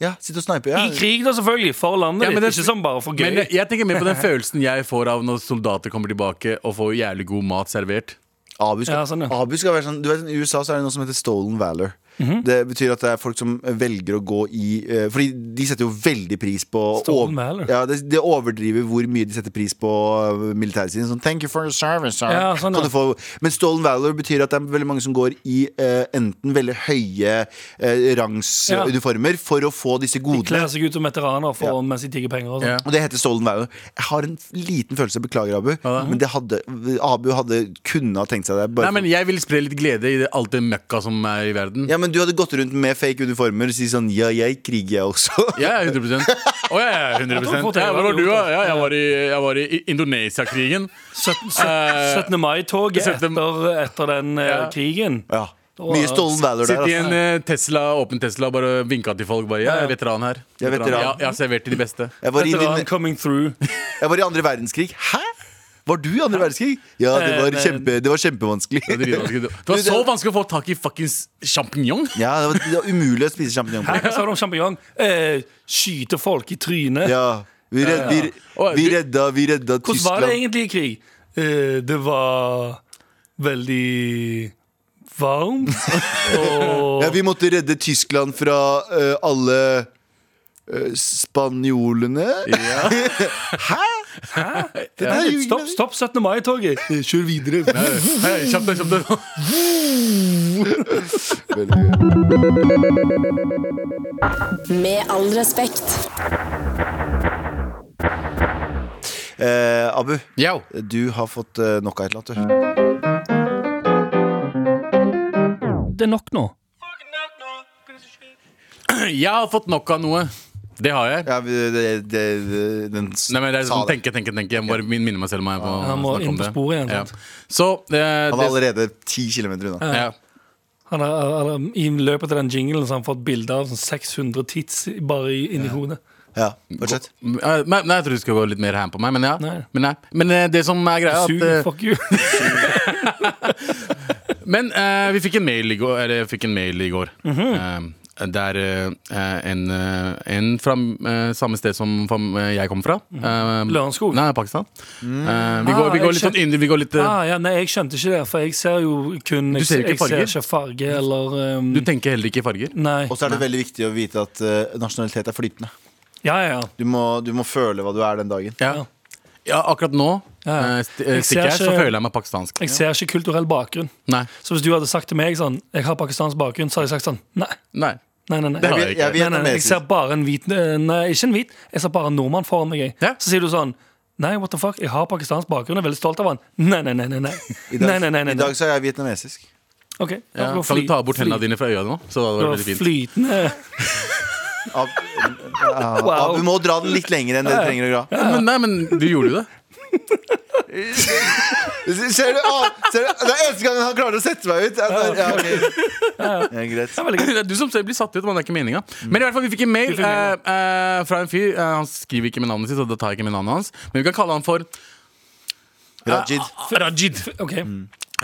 ja, sitte og snipe. Ja. I krig, da, selvfølgelig. For landet Ja, men ditt. det- Ikke sånn bare for gøy. Men jeg, jeg tenker mer på den følelsen jeg får av når soldater kommer tilbake og får jævlig god mat servert. Abu skal, Ja, sånn, ja. Abu skal være sånn du vet, I USA så er det noe som heter stolen valor. Mhm. Det betyr at det er folk som velger å gå i eh, Fordi de setter jo veldig pris på ov- Stolen valor? Ja, det, det overdriver hvor mye de setter pris på eh, militærsiden. Sånn, Thank you for your service sir." Ja, sånn, Kan ja. du få, Men stolen valor betyr at det er veldig mange som går i eh, enten veldig høye eh, Ja. rangsuniformer for å få disse godene. Kler seg ut som veteraner for mens de tigger penger og Ja. sånn. Og det heter Stolen Valor. Jeg har en liten følelse, beklager Abu, men det hadde, Abu hadde kunne ha tenkt seg det. bare Nei, men Jeg vil spre litt glede i det, alt det møkka som er i verden. Ja, men du hadde gått rundt med fake uniformer og si sånn Ja, jeg kriger jeg også. Ja, ja, 100 Å ja, ja, 100 Jeg tror ja, Hvor var du, da? fotball- Ja, jeg var i, jeg var i Indonesia-krigen. 17, Eh, 17. mai-toget syttende- etter, etter den eh, Ja. krigen. Ja. Mye Stolen Valor der, Sitte i en altså. eh, Tesla, åpen Tesla, bare vinka til folk. Bare, ja, jeg er veteran her. Jeg er veteran. Ja, jeg har servert til de beste. Jeg var, i Veteran din, coming through. jeg var i andre verdenskrig. Hæ? Var du i andre verdenskrig? Ja, det var, Eh, kjempe, det var Det var kjempevanskelig. dritvanskelig. Det var så vanskelig å få tak i fuckings sjampinjong. Ja, det var, det var umulig å spise sjampinjong på. Hva sa du om sjampinjong? Eh, skyte folk i trynet. Ja, vi, redd, vi, Å, vi du- redda, vi redda Hvordan var det Tyskland. egentlig i krig? Eh, det var veldig varmt. Og Ja, vi måtte redde Tyskland fra eh, alle eh, spanjolene. Hæ? Det der er jo Stopp, stopp 17. mai-toget! Eh, Kjør videre. Hei, kjapt, deg, kjapt. deg. Veldig gøy. Med all respekt. Eh, Abu, Yo. du har fått eh, nok av et eller annet, du. Det er nok nå. Jeg har fått nok av noe. Det har jeg. Ja, vi- det, det, det, den s- Nei, men det er sa sånn, tenke, tenke, tenke. Jeg må bare min- minne meg selv om jeg må Han må snakke inn om på det. sporet igjen, Ja. sant? Så Han eh, er det, allerede ti kilometer unna. ja. Han har, han har, I løpet av den jinglen så har han fått bilder av sånn 600 tits bare i- inni hodet. Ja, fortsett. Eh, Nei, nei, jeg trodde du skulle gå litt mer ham på meg, men ja. Nei. Men, nei. men eh, det som er greia, Sug, er at eh, fuck you. Men eh, vi fikk en mail i går. Eller, jeg fikk en mail i går Mhm. Eh, der eh, en, eh, en fra eh, samme sted som fam- eh, jeg kommer fra. Eh, Mhm. Lørenskog. Nei, Pakistan. Mm. Eh, vi, går, Ah, vi jeg går litt sånn inn, vi går litt eh, Ah, ja, nei, jeg skjønte ikke det, for jeg ser jo kun Du ser jo ikke jeg, farger. jeg ser ikke farge eller um, Du tenker heller ikke i farger? Nei. Og så er det veldig viktig å vite at eh, nasjonalitet er flytende. Ja, ja, ja. Du må, du må føle hva du er den dagen. Ja, ja akkurat nå Ja. eh, st- eh, Jeg ser stikker jeg, så ikke- føler jeg meg pakistansk. Jeg ser ikke kulturell bakgrunn. Nei. Så hvis du hadde sagt til meg sånn Jeg har pakistansk bakgrunn, så hadde jeg sagt sånn Nei. Nei. Nei, nei, nei. har Jeg, jeg jeg, ikke. jeg, Nei, nei, nei, jeg ser jeg, bare en hvit eh, Nei, ikke en hvit. Jeg ser bare en nordmann foran meg. jeg. Ja. Så sier du sånn Nei, what the fuck, jeg har pakistansk bakgrunn, jeg er veldig stolt av han. Nei, nei, nei, nei. nei. I nei, dag, nei, nei, nei, I nei. dag så er jeg vietnamesisk. Ok, da Ja. får Kan fly- du ta bort fly- hendene dine fra øya nå? Så det Det hadde var vært veldig fint. flytende Ab ja, Abu må dra den litt lenger enn dere trenger å dra. Men, nei, men du gjorde jo det. Ser du, ah, ser du? Det er eneste gangen han klarer å sette meg ut. Ja, ja, ok. ja, greit. Det er du som selv blir satt ut, men det er ikke meninga. Men i hvert fall, vi fikk en mail Du fikk melding, eh, eh, fra en fyr. Eh, han skriver ikke med navnet sitt, så da tar jeg ikke med navnet hans. Men vi kan kalle han for Rajid. Rajid. Ok,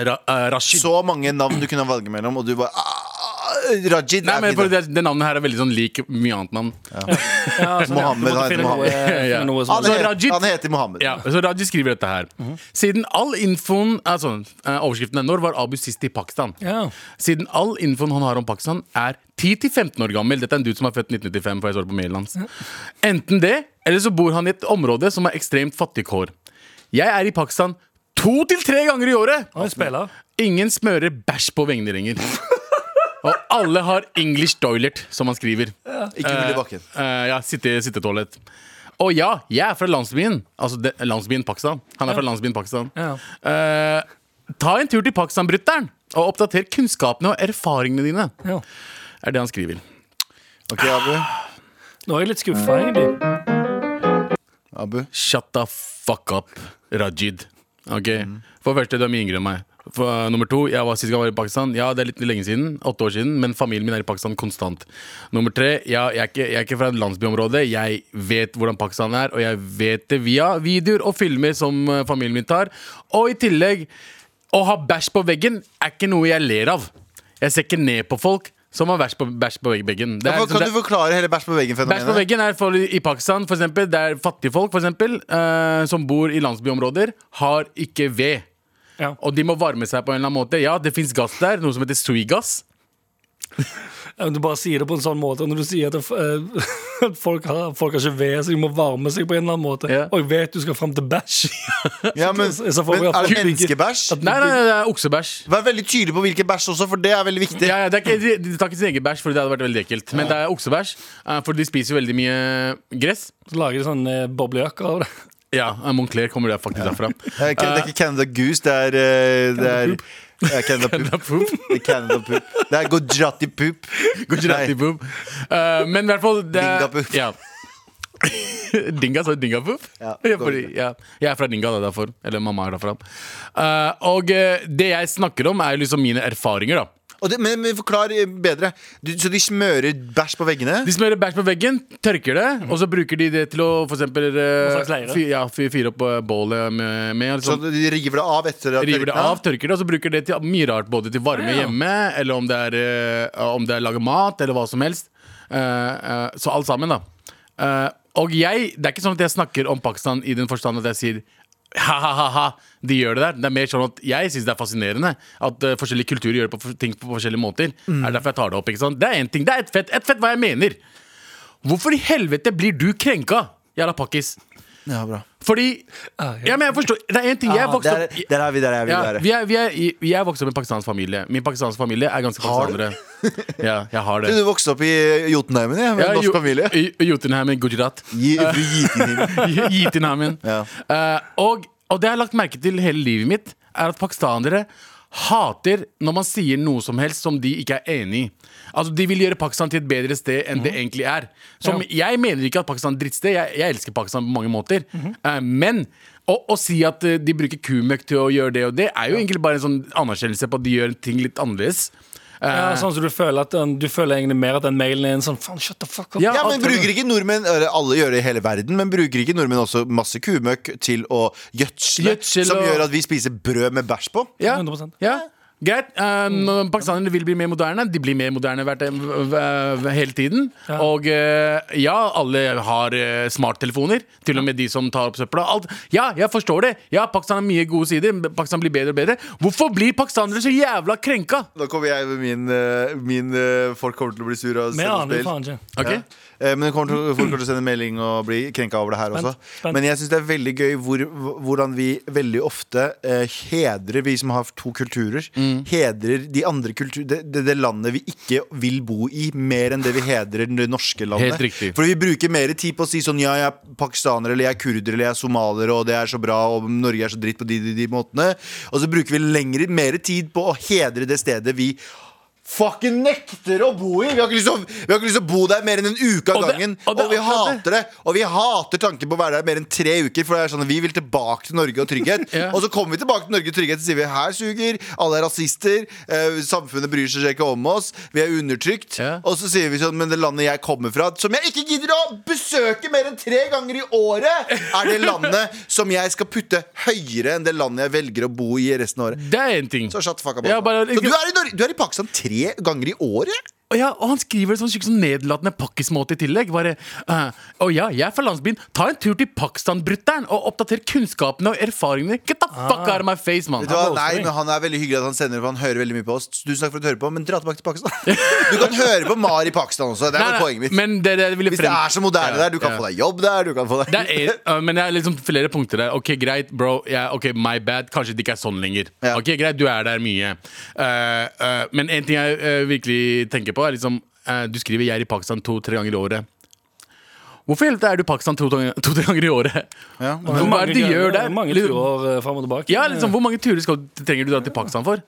Ra eh, Rashid. Så mange navn du kunne valge mellom, og du bare ah, Rajid Nei, er men for fint. det, det navnet her er veldig sånn lik mye annet navn. ja, altså, Mohammed, du måtte han heter finne noe- Mohammed. eh, finne Ja. noe Han, som- Så heter- Rajid- han heter Mohammed. Ja, så Raji skriver dette her. Siden all infoen altså, eh, Overskriften er 'Når var Abu sist i Pakistan?' Ja. Siden all infoen han har om Pakistan, er 10-15 år gammel. Dette er en dude som er født 1995, for jeg så det på mailen hans. Enten det, eller så bor han i et område som har ekstremt fattige kår. Jeg er i Pakistan to til tre ganger i året! Han er spiller. Ingen smører bæsj på vengene lenger. Og alle har English toilet, som han skriver. Ikke hull i bakken. Eh, ja, sitte, sittetoalett. Og ja, jeg er fra landsbyen. Altså det, landsbyen Pakistan. Han er fra landsbyen Pakistan. Ja. Eh, ta en tur til Pakistan, brutter'n, og oppdater kunnskapene og erfaringene dine. Ja. Er det han skriver. Ok, Abu. Nå er jeg litt skuffa, egentlig. Abu. Shut the fuck up, Rajid. Ok, For det første, du er mye yngre enn meg. For, eh, nummer to, jeg var sist gang jeg var i Pakistan. Ja, det er litt lenge siden, åtte år siden, men familien min er i Pakistan konstant. Nummer tre, ja, jeg, er ikke, jeg er ikke fra et landsbyområde. Jeg vet hvordan Pakistan er, og jeg vet det via videoer og filmer som eh, familien min tar. Og i tillegg, å ha bæsj på veggen er ikke noe jeg ler av. Jeg ser ikke ned på folk som har bæsj på, bæsj på veggen. Det er liksom- Kan det- du forklare hele bæsj på Bæsj på veggen-fenomenet? veggen er for, i Pakistan, for eksempel. Det er fattige folk, for eksempel, eh, som bor i landsbyområder, har ikke ved. Ja. Og de må varme seg på en eller annen måte. Ja, det fins gass der, noe som heter suigass. Ja, men Du bare sier det på en sånn måte. Når du sier at, eh, at folk, har, folk har ikke ved, så de må varme seg på en eller annen måte. Ja. Og jeg vet du skal fram til bæsj. Ja, men, Så- så får vi men er det absolutt ikke- menneskebæsj? Nei, nei, nei, det er oksebæsj. Vær veldig tydelig på hvilken bæsj også, for det er veldig viktig. Ja, ja, det er ikke, de, de tar ikke sin egen bæsj, for det hadde vært veldig ekkelt. Men det er oksebæsj, eh, for de spiser jo veldig mye gress. Så lager de sånn eh, boblejakker av det. Ja, eh, Moncler kommer der faktisk derfra. Det er ikke- Eh, det er ikke Canada Goose, det er eh, Det er det er Canada Poop. Poop. Det er Canada Poop. Det er Gujarati Poop. Gujarati Nei, poop. Eh, men i hvert fall det, Dingapoop. Ja. Dinga sa dingapoop? Ja, Ja, fordi, ja. Jeg er fra Dinga, da, derfor. Eller mamma er derfra. Eh, og eh, det jeg snakker om, er jo liksom mine erfaringer, da. Og det, men, men forklar bedre. Du, så de smører bæsj på veggene? De smører bæsj på veggen, tørker det, og så bruker de det til å for eksempel eh, En slags leire. fyr- ja, fyr- fyre opp eh, bålet med, med Så liksom. de river det av etter at River det tørkene? av, tørker det, og så bruker det til mye rart. Både til varme hjemme, eller om det er, eh, om det er lage mat, eller hva som helst. Eh, eh, så alt sammen, da. Eh, og jeg, det er ikke sånn at jeg snakker om Pakistan i den forstand at jeg sier ha-ha-ha, de gjør det der. Det er mer sånn at jeg syns det er fascinerende at eh, forskjellige kulturer gjør det på, for- ting på forskjellige måter. Er derfor jeg tar det opp, ikke sant? Det er en ting, det er et fett, et fett hva jeg mener. Hvorfor i helvete blir du krenka, jævla pakkis? Ja, bra. Fordi Ah, ja. Ja, men jeg forstår. Det er en ting jeg Ah, vokste der, opp der er vi der jeg vil ja, være. vi er, vi er, i- vi er vokst opp i en pakistansk familie. Min pakistanske familie er ganske Har du? pakistanere. Ja, jeg har Du det. vokste opp i Jotunheimen, ja, med Ja, norsk Jo- familie? I- i Jotunheimen, Gujarat. Gi- fra Gitinheimen. Jitinheimen. Ja. Eh, og, og det jeg har lagt merke til hele livet mitt, er at pakistanere hater når man sier noe som helst som de ikke er enig i. Altså, De vil gjøre Pakistan til et bedre sted enn det egentlig er. Som Jeg mener ikke at Pakistan er et drittsted. Jeg, jeg elsker Pakistan på mange måter. Eh, men å, å si at eh, de bruker kumøkk til å gjøre det og det, er jo egentlig bare en sånn anerkjennelse på at de gjør ting litt annerledes. Ja, sånn som du føler at den, Du føler egentlig mer at den mailen er en sånn faen, shut the fuck up. Ja, Ja, alt- men bruker ikke nordmenn eller Alle gjør det i hele verden, men bruker ikke nordmenn også masse kumøkk til å gjødsle? Gjødsel som og- gjør at vi spiser brød med bæsj på? Ja, 100%. ja. Greit. eh, når Pakistanere vil bli mer moderne. De blir mer moderne hvert, eh, v- v- hele tiden. Og eh, ja, alle har eh, smarttelefoner. Til og med de som tar opp søpla. Alt. Ja, jeg forstår det. Ja, Pakistan har mye gode sider. Pakistan blir bedre og bedre. Hvorfor blir pakistanere så jævla krenka? Da kommer jeg med min, eh, min eh, Folk kommer til å bli sur av å Vi sende aner jo spill. faen ikke. Ok? Ja. Eh, Men det kommer til, folk kommer til å sende melding og bli krenka over det her Spent, også. spent. Men jeg syns det er veldig gøy hvor, hvordan vi veldig ofte eh, hedrer vi som har to kulturer. Mm. Hedrer de andre kultur, det, det, det landet vi ikke vil bo i, mer enn det vi hedrer det norske landet. Helt riktig. For vi bruker mer tid på å si sånn ja, jeg er pakistaner, eller jeg er kurder, eller jeg er somalier, og det er så bra, og Norge er så dritt på de, de, de måtene. Og så bruker vi lengre, mer tid på å hedre det stedet vi fucking nekter å bo i! Vi har ikke lyst til å, vi har ikke lyst til å bo der mer enn en uke av Og det- gangen. og Og, det- vi akkurat hater det! Og vi hater tanken på å være der mer enn tre uker. For det er sånn at vi vil tilbake til Norge og trygghet. Ja. Og så kommer vi tilbake til Norge og trygghet og sier vi her suger, alle er rasister, eh, samfunnet bryr seg ikke om oss, vi er undertrykt. Ja. Og så sier vi sånn, men det landet jeg kommer fra, som jeg ikke gidder å besøke mer enn tre ganger i året, er det landet som jeg skal putte høyere enn det landet jeg velger å bo i resten av året. Det er én ting. Så shut the fuck up. altså. Ja, bare- så du er, i Norge, du er i Pakistan tre ganger i året? Og, ja, og han skriver det sånn skikkelig sånn nedlatende pakkismåte i tillegg. Bare, eh, «Å ja, jeg er fra landsbyen. Ta en tur til Pakistan-brutter'n og oppdater kunnskapene og erfaringene. Get the fuck out of my face, Ah. mann. Vet du hva? voldsomt. Nei, men Han er veldig hyggelig at han sender for han hører veldig mye på oss. Tusen takk for at du hører på, men dra tilbake til Pakistan. Du kan høre på Mar i Pakistan også. Det er Nei, vel nei, poenget mitt. Men det, det, jeg ville Hvis det frem- er så moderne Ja, der, du kan ja. få deg jobb der. Du kan få deg Det er, eh, men det er liksom flere punkter der. Ok, greit, bro. Ja, ok, My bad. Kanskje det ikke er sånn lenger. Ja. Ok, Greit, du er der mye. Eh, eh, men en ting jeg eh, virkelig tenker på, er liksom eh, Du skriver 'jeg er i Pakistan to-tre ganger i året'. Hvorfor i helvete er du i Pakistan to-tre to, tre ganger i året? Ja. Hva er det du gjør der? Mange Liksom- turer eh, fram og tilbake. Ja, liksom, sånn- Hvor mange turer skal, trenger du dra til Pakistan for?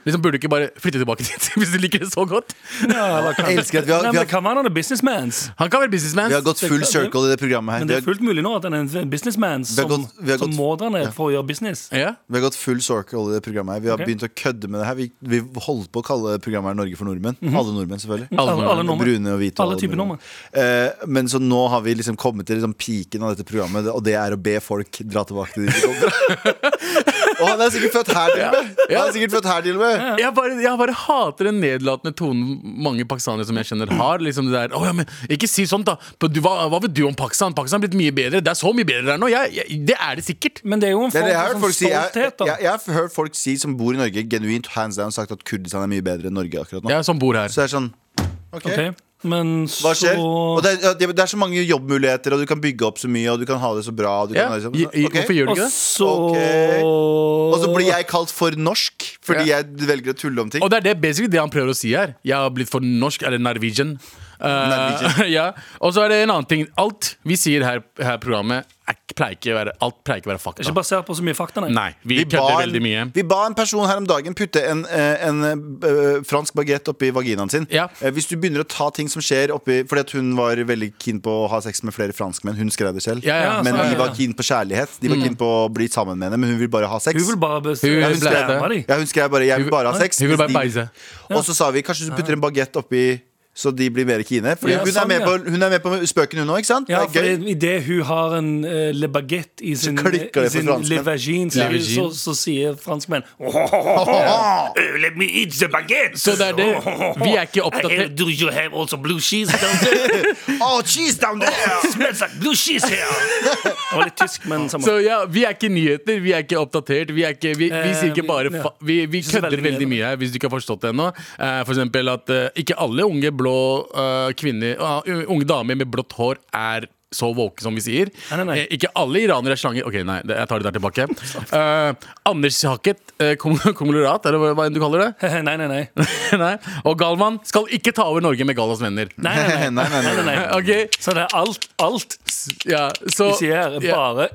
Liksom Burde du ikke bare flytte tilbake dit hvis du liker det så godt? Ja, eller kan- Jeg elsker at vi har- Nei, vi men har- det kan være han er businessmans. Han kan være businessman. Vi har gått full circle i det programmet her. Men Vi det har, er fullt mulig nå at han er en businessman har som, gått- vi har som gått- må dra ned for å gjøre business. Ja. vi har gått full circle i det programmet her. Vi har Ok. begynt å kødde med det her. Vi, vi holdt på å kalle programmet her Norge for nordmenn. Alle nordmenn, selvfølgelig. Mhm. Alle Alle, alle nordmenn. nordmenn. Brune og hvite. og Alle typer mulige. Eh, men så nå har vi liksom kommet til liksom piken av dette programmet, og det er å be folk dra tilbake til de de kommer fra. og han er sikkert født her, til og med. Han er sikkert født her til og med. Jeg bare, jeg bare hater den nedlatende tonen mange pakistanere som jeg kjenner har. Liksom det der, «Å, ja, men Ikke si sånt, da! På- Du, hva, hva vet du om Pakistan? Pakistan er blitt mye bedre. Det er så mye bedre der nå! Jeg, jeg, det er det sikkert. Men det er jo en Det er form det jeg har hørt for folk si. sånn Jeg, jeg, stolthet, da. jeg har hørt folk si som bor i Norge, genuint hands down sagt at Kurdistan er mye bedre enn Norge akkurat nå. Jeg som bor her. Så det er sånn OK. Ok, Men så Hva skjer? Og det, er, ja, det- det er så mange jobbmuligheter, og du kan bygge opp så mye, og du kan ha det så bra. Og, du Ja. kan ha det så, I, i, Ok. Hvorfor gjør du Og ikke det? så Ok. og så blir jeg kalt for norsk fordi Ja. jeg velger å tulle om ting. Og det er det, basically det han prøver å si her. Jeg har blitt for norsk, eller Norwegian. Eh, Norwegian. ja. Og så er det en annen ting. Alt vi sier her her i programmet, er, ikke- pleier ikke å være, alt pleier ikke å være Det er fakta. ikke basert på så mye fakta, nei. Nei, vi, kødder veldig mye. vi ba en person her om dagen putte en, eh, en eh, fransk bagett oppi vaginaen sin. Ja. Eh, Hvis du begynner å ta ting som skjer oppi Fordi at hun var veldig keen på å ha sex med flere franskmenn. Hun skrev det selv. Ja, ja, Ja, Men sånn, de ja. var keen på kjærlighet. De var keen på å bli sammen med henne, men hun vil bare ha sex. Hun vil bare bes- Hun vil bestemme blære de. Ja, hun skrev bare 'jeg vil bare ha sex'. Hun vil hvis bare de- beise. Og så sa vi kanskje du putter en bagett oppi så de blir mer keene. Fordi Ja, hun, sånn, er med ja. på, hun er med på spøken, hun òg, ikke sant? Ja, det er for idet hun har en eh, le baguette i sin, klikker det for i sin franskmenn. le vagin, så, Le vagin. så, så sier franskmenn oh, gøy. Let me eat the baguette. Så det er det. Vi er ikke Hey, oppdatert. do you have also blue cheese down there? Oh, cheese down there! Smells like blue cheese here. Det var litt tysk, men samme. Så ja, Vi er ikke nyheter, vi er ikke oppdatert. Vi, er ikke, vi, vi Eh, sier ikke vi- bare ja. fa Vi, vi synes kødder veldig mye veldig mye her, hvis du ikke har forstått det ennå. Eh, for eksempel at eh, ikke alle unge blå eh, kvinner ah, u- Unge damer med blått hår er så våke som vi sier. Nei, nei, nei. Eh, Ikke alle iranere er slanger. Ok, nei, det- jeg tar det der tilbake. Eh, Anders Hakket, eh, kom- konglomerat, eller hva hva enn du kaller det. nei, nei, nei. nei. Og Galvan skal ikke ta over Norge med Gallas venner. Nei, nei, nei. Nei, nei, nei. Nei, nei, nei. Ok, Så det er alt, alt ja, så de sier, er ja. bare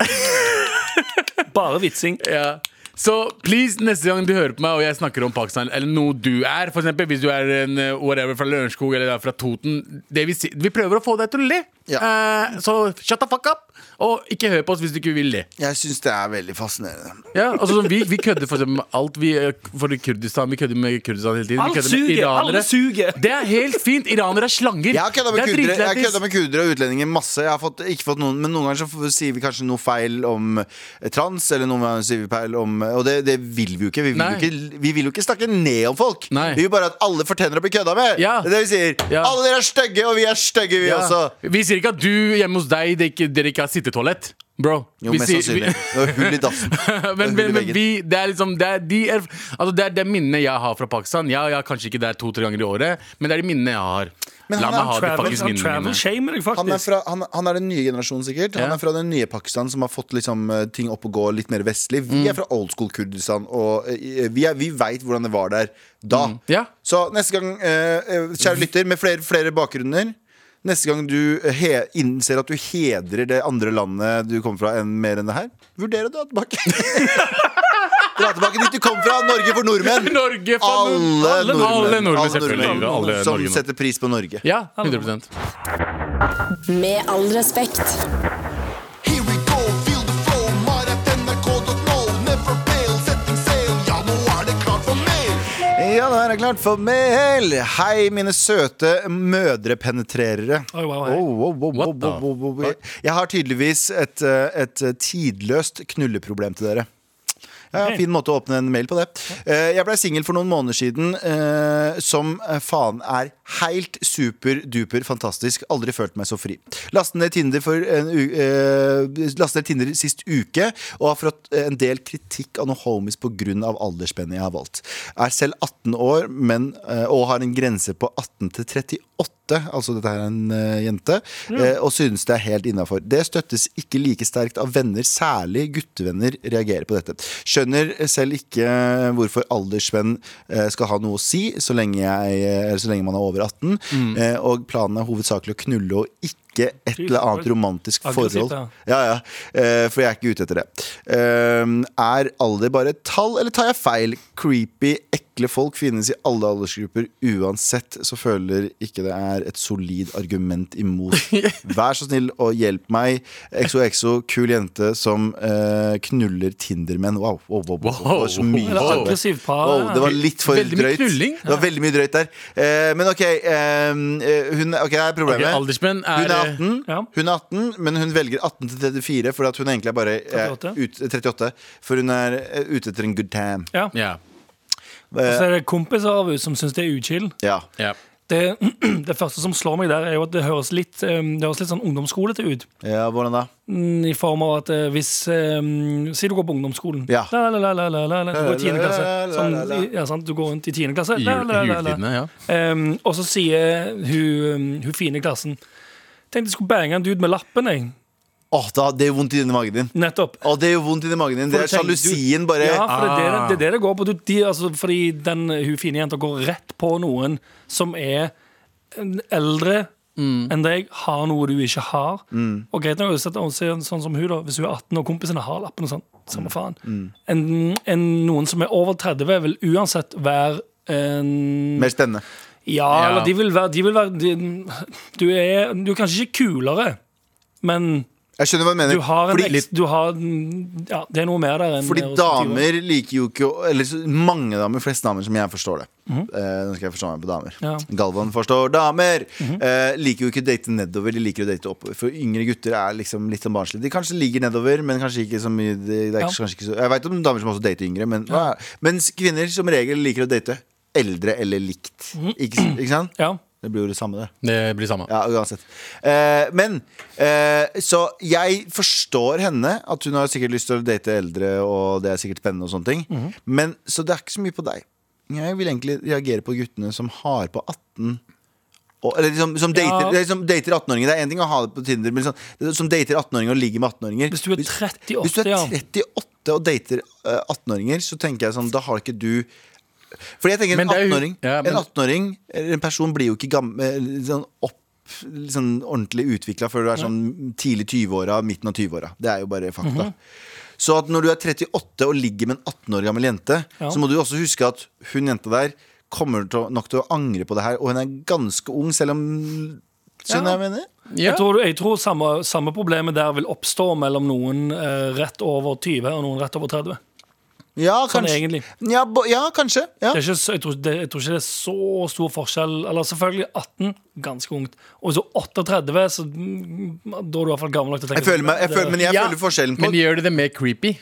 Bare vitsing. Ja. Så please, neste gang du hører på meg og jeg snakker om Pakistan, eller noe du er, for eksempel hvis du er en eh, whatever fra Lørenskog eller er fra Toten det vi, si- vi prøver å få deg til å le. Eh, så shut the fuck up, og ikke hør på oss hvis du ikke vil le. Jeg syns det er veldig fascinerende. Ja, altså, sånn, vi, vi kødder for eksempel med alt. Vi, eh, for Kurdistan, vi kødder med Kurdistan hele tiden. Alt vi kødder med suger, iranere. alle suger. Det er helt fint. Iranere er slanger. Jeg har kødda med, Det er kurdere- jeg har dritlættis. kødda med kurdere og utlendinger masse. Jeg har fått, ikke fått noen, men noen ganger så f- sier vi kanskje noe feil om eh, trans, eller noen ganger sier vi feil om eh, Og det, det vil vi jo ikke. Vi vil Nei. jo ikke, vi vil jo ikke snakke ned om folk. Nei. Vi vil bare at alle fortjener å bli kødda med. Ja. Det er det vi sier. Ja. Alle dere er stygge, og vi er stygge, vi Ja. også. Vi sier ikke at du hjemme hos deg det ikke, dere ikke har sittetoalett. Bro. Jo, vi mest sier- vi- sannsynlig. Det var hull i dassen. men, Det er hull i men, men veggen. vi, det er liksom Det er de er, altså det, er det minnene jeg har fra Pakistan. Ja, jeg har kanskje ikke der to-tre ganger i året, men det er de minnene jeg har. Men La han er meg ha de Travel, faktisk han minnene travel mine. shamer deg, Han er, faktisk. fra, han, han er den nye generasjonen, sikkert. Han Ja. er fra den nye Pakistan som har fått liksom, eh, ting opp og gå litt mer vestlig. Vi Mm. er fra old school Kurdistan, og eh, vi, er- vi veit hvordan det var der da. Mm. Ja. Så neste gang, eh, eh, kjære lytter, med flere, flere bakgrunner Neste gang du eh, he innser at du hedrer det andre landet du kommer fra, enn mer enn det her, vurder å dra tilbake. Dra tilbake dit du kom fra. Norge for nordmenn. Norge fra Alle nordmenn. alle Alle nordmenn, Alle selvfølgelig. nordmenn Alle som Norge nå. setter pris på Norge. Ja, 100 Med all respekt. Here we go, feel the flow. Mar.nrk.no. Never fail, setting sail. Ja, nå er det klart for mer. Ja, nå er det klart for mel. Hei, mine søte mødrepenetrerere. Oi, wow, hei. Oh, wow, wow, wow, What the wow, wow, wow. Jeg har tydeligvis et, eh, et tidløst knulleproblem til dere. Ja, Ok. Fin måte å åpne en mail på det. Eh, Jeg blei singel for noen måneder siden, eh, som eh, faen er helt super-duper fantastisk. Aldri følt meg så fri. Lastet ned Tinder, for en u eh, lastet ned Tinder sist uke og har fått eh, en del kritikk av noen homies pga. aldersspennet jeg har valgt. Er selv 18 år men, eh, og har en grense på 18 til 38. Altså dette her er en eh, jente, eh, og synes det er helt innafor. Det støttes ikke like sterkt av venner, særlig guttevenner reagerer på dette. Skjønner eh, selv ikke eh, hvorfor aldersvenn eh, skal ha noe å si så lenge, jeg, eh, så lenge man er over 18, eh, og planen er hovedsakelig å knulle og ikke et eller annet romantisk Aggressivt, forhold. ja. Ja, ja, Eh, for jeg er ikke ute etter det. Ehm, er alder bare et tall, eller tar jeg feil? Creepy, ekle folk finnes i alle aldersgrupper uansett, så føler ikke det er et solid argument imot. Vær så snill og hjelp meg. XOXO, kul jente som eh, knuller Tindermenn. Wow, wow, wow, wow, wow. Det var så mye Wow. arbeid. Aggressivt par. Wow, det var litt for Veldig mye drøyt. knulling. Det var veldig mye drøyt der. Eh, men OK, eh, hun, ok, her er problemet. Aldersmenn Hun er er eh, 18, Ja. hun er 18 men hun velger 18 til 34 fordi at hun egentlig er bare eh, 38. Ut, 38 For hun er eh, ute etter en good time. Eh, Ja. Ja. Og så er det kompiser av henne som syns det er uchill. Ja. ja. Det, det første som slår meg der, er jo at det høres litt, eh, det høres litt sånn ungdomsskolete ut. ja, hvordan da? Mm, I form av at eh, hvis eh, Si du går på ungdomsskolen. Ja. La, la, la, la, la, la, la, du går i tiende klasse. La, la, la, la, la. Sånn, ja, sant? Du går rundt i tiende klasse. I La, jul- la, i la, la. juletidene, ja. Em, og så sier hun, um, hun fine i klassen Tenkte jeg skulle bange en dude med lappen. Jeg. Åh, da, Det gjør vondt inni magen din. Nettopp. Åh, det gjør vondt inni magen din. Det For er du tenker- sjalusien bare Ja, for det er det det, Ah. det, er det, det går på. Du, de, altså, fordi den eh, hun fine jenta går rett på noen som er en eldre Mm. enn deg, har noe du ikke har. Og greit nok, hvis, at, og se, sånn som hun da, hvis hun er 18 og kompisene har lappen og sånn, Mm. samme faen. En, en, noen som er over 30, vil uansett være en Mer spennende. ja, Ja. eller de vil være, de vil være de, du, er, du er kanskje ikke kulere, men Jeg skjønner hva du mener. du har en fordi, eks- du har, ja, Det er noe mer der enn fordi hos tyver. damer liker jo ikke å- Eller så- mange damer, flest damer som jeg forstår det. Eh, nå skal jeg forstå meg på damer. Mhm. Ja. Mhm. Galvan forstår damer! eh, liker jo ikke å date nedover, de liker å date oppover. For yngre gutter er liksom litt sånn barnslige. De kanskje ligger nedover, men kanskje ikke så mye det, det er Ja. kanskje ikke så, Jeg veit om damer som også dater yngre, men hva er- mens kvinner som regel liker å date eldre eller likt. Mhm. Ikke, s- ikke sant? ja. Det blir jo det samme, det. Det blir samme. Ja, uansett. Eh, men eh, Så jeg forstår henne. At hun har sikkert lyst til å date eldre, og det er sikkert spennende. og sånne ting Mhm. Men Så det er ikke så mye på deg. Jeg vil egentlig reagere på guttene som har på 18 og, Eller liksom, som dater, Ja. det er liksom dater 18-åringer. Det er én ting å ha det på Tinder, men liksom, det- som dater 18-åringer og ligger med 18-åringer. Hvis du er 38, hvis du er ja. 38 og dater eh, 18-åringer, så tenker jeg sånn, da har ikke du fordi jeg tenker En Men det er jo- 18-åring ja, men- En 18-åring Eller en person blir jo ikke gammel sånn opp Sånn ordentlig utviklet Før du er sånn tidlig 20-åra Midten av 20-åra Det er jo bare fakta Mhm. Så at når du er 38 Og ligger med en 18 år gammel jente Ja. Så må du også huske at Hun jenta der Kommer til, å- nok til å angre på det her Og hun er ganske ung Selv om Skjønner jeg hva jeg mener? Ja. Jeg tror, jeg tror samme, samme problemet der vil oppstå mellom noen eh, rett over 20 og noen rett over 30. Ja, Sånn kanskje egentlig. ja, bo- ja, kanskje ja. Det er ikke, så- jeg, tror, det, jeg tror ikke det er så stor forskjell. Eller selvfølgelig 18, ganske ungt. Og så 38, så mm, da er du i hvert fall gammel nok til å Jeg tenke føler, meg, jeg det- føler, men jeg Ja, føler forskjellen på Men gjør det det mer creepy?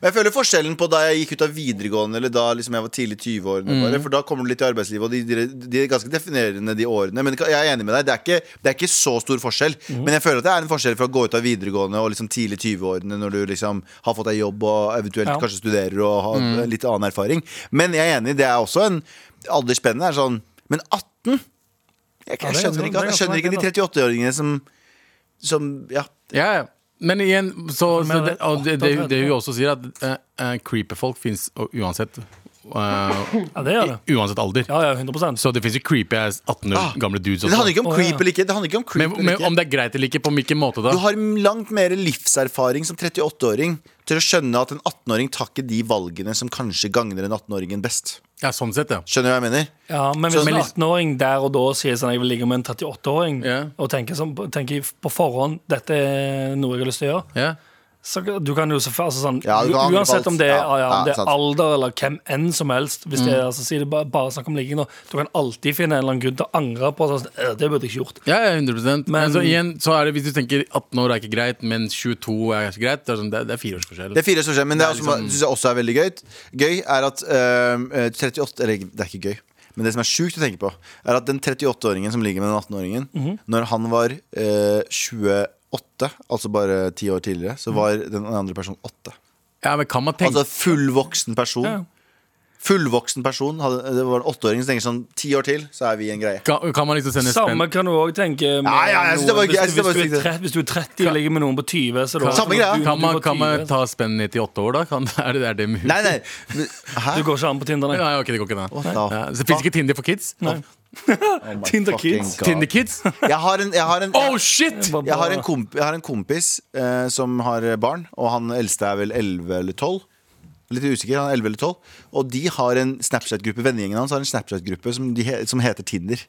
Men Jeg føler forskjellen på da jeg gikk ut av videregående Eller da liksom jeg var tidlig 20-årene Mm. bare, For da kommer du litt i arbeidslivet Og de, de, de er ganske definerende de årene Men jeg er enig med deg, det er ikke, det er ikke så stor forskjell Mm. Men jeg føler at det er en forskjell fra å gå ut av videregående Og liksom tidlig 20-årene Når du liksom har fått deg jobb Og eventuelt Ja. Mm. kanskje studerer Og har litt annen erfaring Men jeg er enig, det er også en aldersspennende er sånn, Men 18 Jeg, jeg Ja, det er skjønner ganske- ikke, det er jeg skjønner ikke de ganske 38-åringene som, som, ja Ja, ja. Men igjen, så, så Men det, og det, det, det hun eh, 38. også sier, at uh, creeper folk fins uansett. eh, Ja, det gjør det. uansett alder. Ja, ja, 100 Så det fins jo creepy ass 18 år Ah, gamle dudes Ah. Det handler også. ikke om Å, creep ja. eller ikke. Det handler ikke om creep Men, men eller om ikke. det er greit eller ikke, på hvilken måte da? Du har langt mer livserfaring som 38-åring til å skjønne at en 18-åring tar ikke de valgene som kanskje gagner en 18-åringen best. Ja, sånn sett, ja. Skjønner du hva jeg mener? Ja, men hvis Så- en 18-åring der og da sier sånn, jeg vil ligge med en 38-åring, Ja. og tenker, sånn, tenker på forhånd dette er noe jeg har lyst til å gjøre, ja. så du kan jo så, altså sånn, Ja, du kan angre på alt. Uansett om det er, Ja, ja, ja, om det sant. Mm. er alder eller hvem enn som helst, hvis det er altså, si det bare, bare snakk om ligging, nå, du kan alltid finne en eller annen grunn til å angre på sånn, «Øh, det burde jeg ikke gjort. Ja, ja, 100 Men Men- så igjen, så er det hvis du tenker 18 år er ikke greit, men 22 er ikke greit. Det er, sånn, det er, det er fire års forskjell. Det er fire som skjer, men det, Det er er også, synes jeg også er veldig gøy. Gøy er at øhm, øh, 38 Eller det er ikke gøy. Men det som er sjukt å tenke på, er at den 38-åringen som ligger med den 18-åringen, når han var øh, 28, altså bare ti år tidligere, så var den andre personen 8. Ja, men kan man tenke Altså fullvoksen person. Ja. Fullvoksen person. Hadde, det var en 8-åring som tenker sånn Ti år til, så er vi en greie. kan, kan man liksom sende Samme spenn kan du òg tenke med Ja, ja, jeg synes det var noen- gøy, jeg synes hvis, det var hvis, du sykt. er tre- hvis du er 30 og ligger med noen på 20, så er det også Samme sånn at greia. du- kan du man, var kan man 20. ta spenn ned til åtte år, da? Kan, er det, er det mulig? Nei, nei. Hæ? Du går ikke an på Tinder, nei. Nei, ok, det går ikke da. What the Ja, så Fins ikke Tinder for kids? Oh my Tinder fucking Kids. God. Tinder kids? Jeg har en, jeg har en Oh shit! Bare- Jeg har en, komp jeg har en kompis eh, som har barn, og han eldste er vel 11 eller 12. Litt usikker, han er 11 eller 12 Og de har en Snapchat-gruppe Vennegjengen hans har en Snapchat-gruppe som, de he som heter Tinder.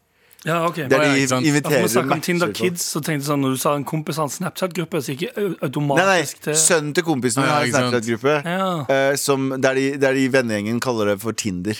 Ja, ok. Der Å, ja, de ikke sant. Ja, for vi inviterer snakker om matcher Tinder folk. Kids, så tenkte jeg sånn Når du sa en kompis har en Snapchat-gruppe, så gikk jeg au- sånn. Nei, nei, automatisk til Sønnen til kompisen min Ja, har en ikke sant. Snapchat-gruppe Ja. eh, som- der de, der de vennegjengen kaller det for Tinder.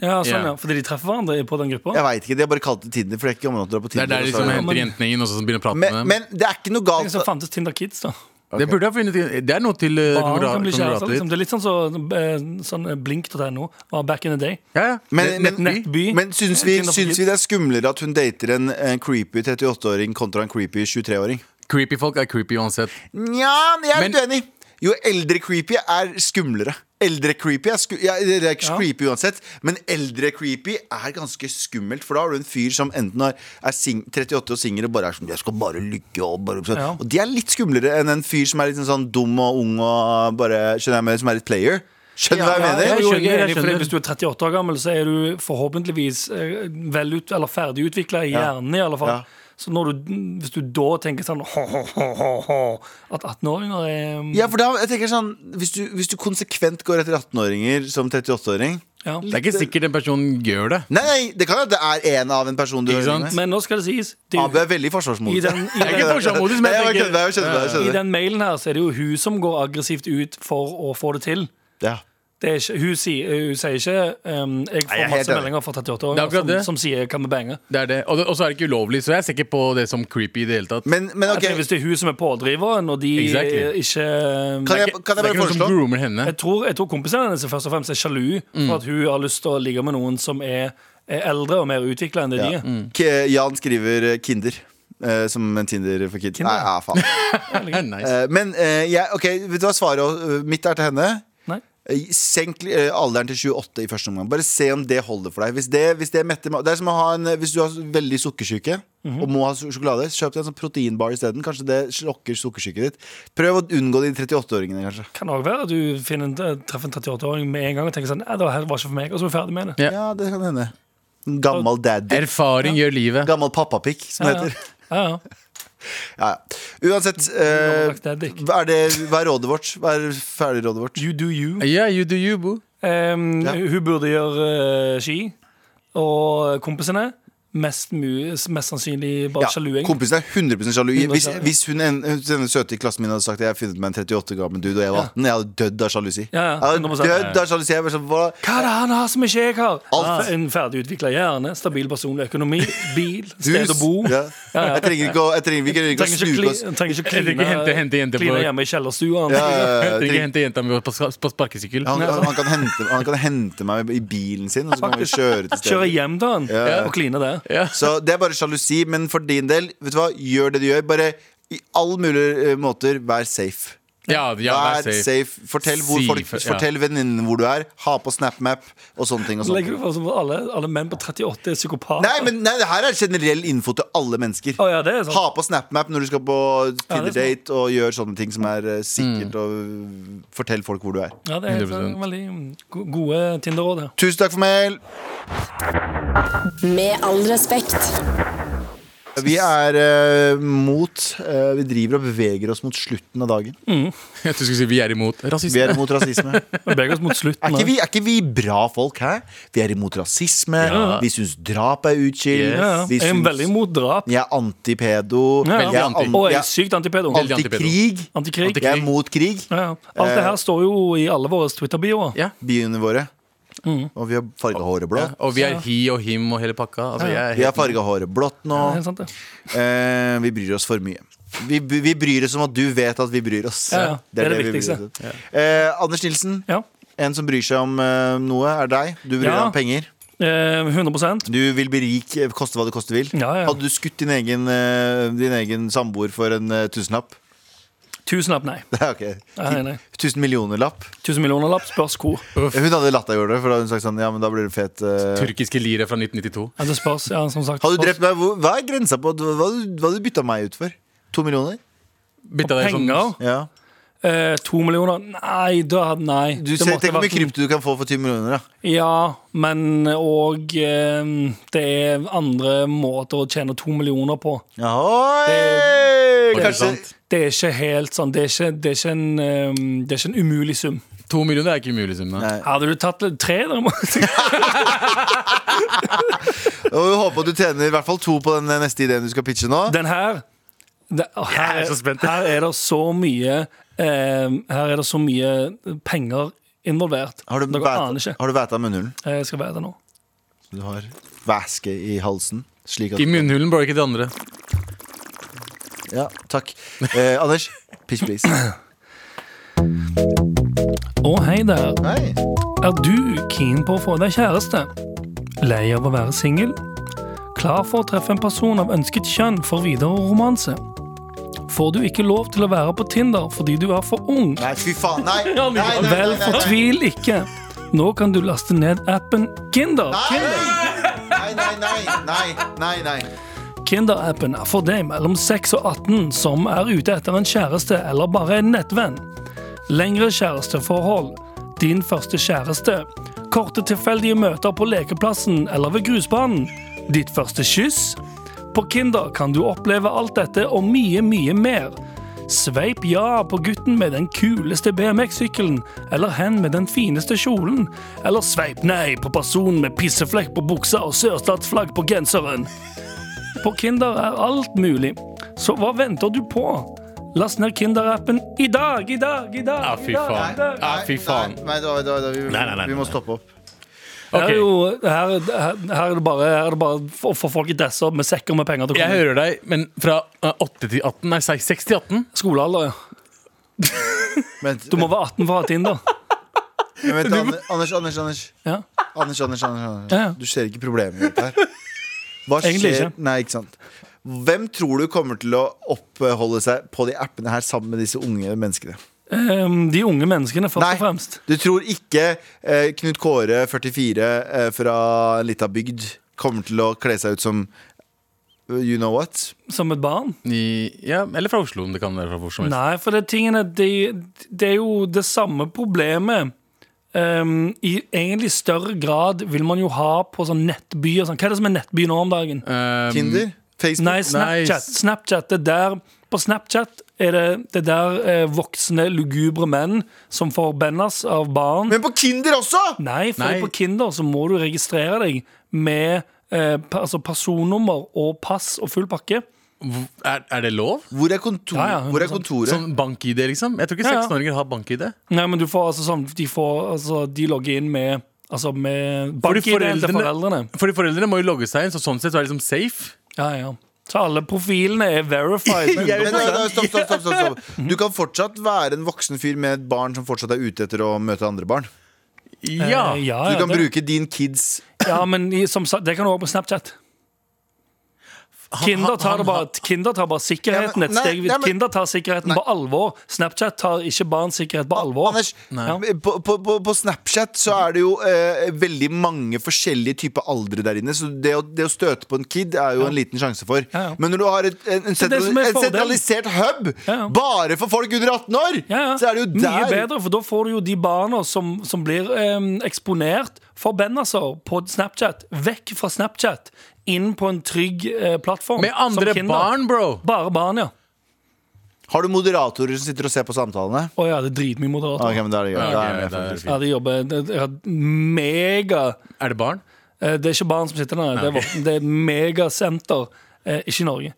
Ja, sånn, Ja. ja. Fordi de treffer hverandre på den gruppa? Jeg veit ikke, De har bare kalt det Tinder. For det er ikke gammel nok til å dra på Det er Tinder der de og så- liksom Ja, henter men- jentene inn og så så begynner å prate med men, dem. men det er ikke noe galt. Tenk så fantes Tinder Kids, da. det burde jeg funnet Det er noe til eh, Barn kamera- kan bli kjærester, kamerater. liksom. Det er litt sånn så, eh, sånn eh, blink.no var back in the day. Ja, ja. Men, Nett- men, nettby. Nettby. men syns, vi, Tinder for syns vi kids. det er skumlere at hun dater en, en creepy 38-åring kontra en creepy 23-åring? Creepy folk er creepy uansett. Nja, jeg er Men- litt uenig. Jo eldre creepy er skumlere. Eldre creepy er, sku ja, det er ikke Ja. creepy uansett, men eldre creepy er ganske skummelt. For da har du en fyr som enten har, er sing 38 og singel og bare er sånn Jeg skal bare lykke og bare sånn. Ja. Og det er litt skumlere enn en fyr som er litt sånn dum og ung og bare Skjønner jeg med, som er litt player. Skjønner du hva jeg Ja, mener? jeg Jo, skjønner, jeg enig, fordi skjønner. Hvis du er 38 år gammel, så er du forhåpentligvis eh, vel ut, eller ferdig utvikla i Ja. hjernen. i alle fall Ja. Så når du, hvis du da tenker sånn ho, ho, ho, ho, ho, At 18-åringer er mm, Ja, for da, jeg tenker sånn Hvis du, hvis du konsekvent går etter 18-åringer som 38-åring ja. Det er ikke sikkert den personen gjør det. Nei, nei, det kan jo at det er en av en person du Ikke hører sant? med. Men nå skal det sies. Det er Abu jo er veldig I forsvarsmodig. den- i den- Jeg kødder. forsvarsmodig, men Nei, jeg jeg tenker- kødder, jeg skjønner, jeg I skjønner. den mailen her så er det jo hun som går aggressivt ut for å få det til. Ja. Det er ikke, hun, sier, hun sier ikke um, Nei, jeg er Jeg får helt masse enig. meldinger fra Det er 38-åringer akkurat som, det. som sier 'kan vi bange'? Det er det. Og det- og så er det ikke ulovlig, så jeg ser ikke på det som creepy i det hele tatt. Men, men ok, Jeg tenker Hvis det er hun som er pådriveren, og de Exactly. eh, ikke kan jeg, Det kan jeg bare er ikke noen som foreslå? groomer henne. jeg tror, jeg tror kompisene hennes først og fremst er sjalu Mm. for at hun har lyst til å ligge med noen som er, er eldre og mer utvikla enn det de Ja. Mm. er. Mm. K- Jan skriver eh, Kinder. eh, som en Tinder for kids. Nei, ja, faen. Ja, nice. Eh, men eh, jeg, ok, vet du hva svaret eh, mitt er til henne? Nei. Eh, Senk eh, alderen til 28 i første omgang. Bare se om det holder for deg. Hvis det, hvis det metter ma- Det er som å ha en eh, Hvis du har veldig sukkersyke Mhm. og må ha su- sjokolade, kjøp deg en sånn proteinbar isteden. Kanskje det slokker sukkersyket ditt. Prøv å unngå de 38-åringene, kanskje. Kan òg være at du finner en, eh, treffer en 38-åring med en gang og tenker sånn Nei, det var var ikke for meg. Og så er du ferdig med det. Ja. Ja, det kan hende. En Gammel Eh, daddy. Erfaring gjør livet. Gammel pappapikk, som det Ja, heter. Ja, ja. Ja, ja. Uansett, eh, Gammeldags daddy. hva er, det, hva er rådet vårt? Hva er ferdigrådet vårt? You do you. Yeah, you do you, boo. Eh, Ehm, Ja. Hun burde gjøre eh, ski. Og kompisene mest, mu- mest sannsynlig bare Ja, ja, sjalu. egentlig. kompisen er 100 sjalu. Hvis, sjalu. hvis hun en, denne søte i klassen min hadde sagt at jeg har funnet meg en 38 gammel dude, og jeg var 18, jeg hadde dødd av sjalusi. Ja, ja, Jeg hadde 100%. dødd av sjalusi jeg var sånn, hva- Hva er det han har som ikke jeg har? Alt. En ferdigutvikla hjerne, stabil personlig økonomi, bil, sted å Hus. bo. Ja. Ja, ja. Jeg trenger ikke å jeg trenger, Vi trenger ikke å Trenger ikke, snuke oss. kli, trenger ikke Jeg trenger ikke kline- hente- hente jenter på- kline hjemme i kjellerstua. Ja, ja, ja, Jeg trenger ikke trenger- hente jenta mi på, ska- på sparkesykkel. Han, han, han, kan hente, han kan hente meg i bilen sin, og så kan vi kjøre til Kjøre stedet. hjem til han Ja. og kline der. Ja. Så det er bare sjalusi, men for din del, vet du hva, gjør det du gjør. Bare i all mulig eh, måter, vær safe. Ja, ja, Vær vær safe. safe. Fortell, hvor Si folk, for- ja. fortell venninnen hvor du er. Ha på SnapMap og sånne ting. Og sånne Legger ting. du for som alle, alle menn på 38 er psykopater? Nei, men nei, det her er generell info til alle mennesker. Å, ja, det er sant. Ha på SnapMap når du skal på Ja, det er sant. Mm. Tinder-date og gjør sånne ting som er eh, sikkert, og eh, fortell folk hvor du er. Ja, det er helt, 100%. veldig mm, go- gode Tinder-råd. ja. Tusen takk for mail! Med all respekt. Vi er eh, mot eh, Vi driver og beveger oss mot slutten av dagen. Mm. Jeg tror du skulle si vi er imot Vi er rasisme. imot rasisme. Vi beveger oss mot Er slutten. ikke, da. vi, er ikke vi bra folk, hæ? Vi er imot rasisme. Vi syns drap er utskill. Yes. Ja, ja. Vi Jeg er syns- veldig imot drap. Jeg er antipedo. Ja, Jeg er ja. anti. an- Og jeg jeg er sykt antipedo. er Veldig antipedo. antikrig. Antikrig. Jeg er mot krig. Ja, ja. Alt det her Eh. står jo i alle våre Twitter-bioer. Ja. Biene våre. Mm. Og vi har farga håret blått. Og vi er he og him og hele pakka. Altså, jeg er Vi har helt, farga håret blått nå. Ja, sant det. Eh, vi bryr oss for mye. Vi, vi bryr oss om at du vet at vi bryr oss. Ja, ja. Det er det vi bryr viktigste. oss om. Eh, Anders Nilsen, Ja. en som bryr seg om eh, noe, er deg. Du bryr Ja. deg om penger. Eh, 100 Du vil bli rik, eh, koste hva det koste vil. Ja, ja. Hadde du skutt din egen, eh, din egen samboer for en eh, tusenlapp? Tusenlapp, nei. ok. Nei, nei. Tusen millioner-lapp? Tusen millioner lapp, spørs hvor. Hun hadde latt deg gjøre det, for da hadde hun sagt sånn Ja, men da blir du fet. eh. Tyrkiske lire fra 1992. Altså, spørs, ja, som sagt, Hadde du spørs. drept meg? hvor- Hva er grensa på Hva hva hadde du bytta meg ut for? To millioner? Bytta deg sånn- Penger? Ja. Eh, to millioner? Nei, da nei. Du, Det se, måtte tenk hvor mye vært en- krypto du kan få for 20 millioner, da. Ja, men og eh, det er andre måter å tjene to millioner på. Ahoi! Det- Kanskje Sant. Det er ikke helt sånn Det er ikke, det er ikke, en, eh, det er ikke en umulig sum. To millioner er ikke umulig, Sumna. Nei. Hadde du tatt litt- tre, derimot Og vi håper at du tjener i hvert fall to på den neste ideen du skal pitche nå. Den her det, å, her, Jeg er så spent. her er det så mye eh, Her er det så mye penger involvert. Har du Dere aner væta ikke. har du væta munnhulen? Eh, Jeg skal være det nå. Du har væske i halsen. Slik at I munnhulen, bro, ikke det andre. Ja, takk. Eh, Anders, pitch please. Å, hei der. Hei. Er du keen på å få deg kjæreste? Lei av å være singel? Klar for å treffe en person av ønsket kjønn for videre romanse? Får du ikke lov til å være på Tinder fordi du er for ung? Nei, fy faen. Nei. Nei, nei, nei, nei, Vel, nei, nei. fortvil ikke. Nå kan du laste ned appen Kinder. Nei, nei, nei, nei, nei, nei. Kinder-appen er for deg mellom 6 og 18 som er ute etter en kjæreste eller bare en nettvenn. Lengre kjæresteforhold, din første kjæreste, korte tilfeldige møter på lekeplassen eller ved grusbanen, ditt første kyss. På Kinder kan du oppleve alt dette og mye, mye mer. Sveip ja på gutten med den kuleste BMX-sykkelen, eller hen med den fineste kjolen, eller sveip nei på personen med pisseflekk på buksa og sørstatsflagg på genseren. På Kinder er alt mulig. Så hva venter du på? Last ned Kinder-appen i dag, i dag, i dag! Ja, fy i dag, i faen. dag. Ja, fy faen. Nei, nei, da- da- da- vi, Nei, nei, nei, vi må nei. stoppe opp. Ok. Her, er jo, her, her, her er det bare, her er det bare for, for folk i dresser med sekker med penger til å Jeg komme hører deg, men fra eh, 8 til 18 Nei, 6 til 18. i skolealder. ja. Vent, Du må være 18 for å ha Tinder. vent, Anders, Anders, Anders, Anders. Ja. Anders, Anders, Anders, Anders. Ja, ja. Du ser ikke problemet mitt her. Hva skjer? Egentlig ikke. Nei, ikke sant. Hvem tror du kommer til å oppholde seg på de appene her sammen med disse unge menneskene? Ehm, de unge menneskene, først og fremst. du tror ikke eh, Knut Kåre, 44, eh, fra en lita bygd, kommer til å kle seg ut som uh, You know what? Som et barn. I, ja, eller fra Oslo, om det kan være fra hvor som helst. Nei, for det, tingene, det, det er jo det samme problemet. Ehm, I egentlig større grad vil man jo ha på sånn nettbyer. Sånn. Hva er det som er nettby nå om dagen? Um, Tinder? Facebook? Nei, Snapchat. Nice. Snapchat det er der, på Snapchat er det, det er der eh, voksne, lugubre menn som får bennas av barn. Men på Kinder også! Nei, for Nei. på Kinder så må du registrere deg med eh, pa, altså personnummer og pass og full pakke. er, er det lov? Hvor er, kontor, Ja, ja, hvor er kontoret? Sånn bank-ID, liksom? Jeg tror ikke Ja, ja. 16-åringer har bank-ID. Nei, men du får altså sånn De, får, altså, de logger inn med Altså med Fordi bank-ID-en til foreldrene. foreldrene- Fordi foreldrene må jo logge seg inn, så sånn sett så er det liksom safe. Ja, ja. Så alle profilene er verified. Men, Men, men, nei, stopp, stopp, stopp, stopp, stopp. Du kan fortsatt være en voksen fyr med et barn som fortsatt er ute etter å møte andre barn. Ja. Eh, ja, Du ja, kan det, bruke din kids ja, men i, som sagt, det kan du òg på Snapchat. Kinder tar, det bare, Kinder tar bare Ja, sikkerheten men- et nei, steg nei, vidt. men- Kinder tar sikkerheten på alvor. Snapchat tar ikke barns sikkerhet på alvor. Anders, eh, Ja. på, på, på, på Snapchat så er det jo eh, veldig mange forskjellige typer aldre der inne. Så det å, det å støte på en kid er jo en liten sjanse for. Ja, ja. Men når du har et, en, en, det sentrali- som er en fordelen- sentralisert hub Ja, ja. bare for folk under 18 år, Ja, ja. så er det jo Mye der bedre, for da får du jo de barna som, som blir em, eksponert for Bennaser på Snapchat, vekk fra Snapchat, inn på en trygg eh, plattform. Med som andre Kinder. barn, bro! Bare barn, ja. Har du moderatorer som sitter og ser på samtalene? Å ja, det er dritmye Ok, moderatorer. men da er det greit. Ok, Da er jeg med, det er faktisk. fint. Ja, de jobber det- det er mega Er det barn? eh, Det er ikke barn som sitter der, det er, voksne. det er et megasenter, eh, ikke i Norge,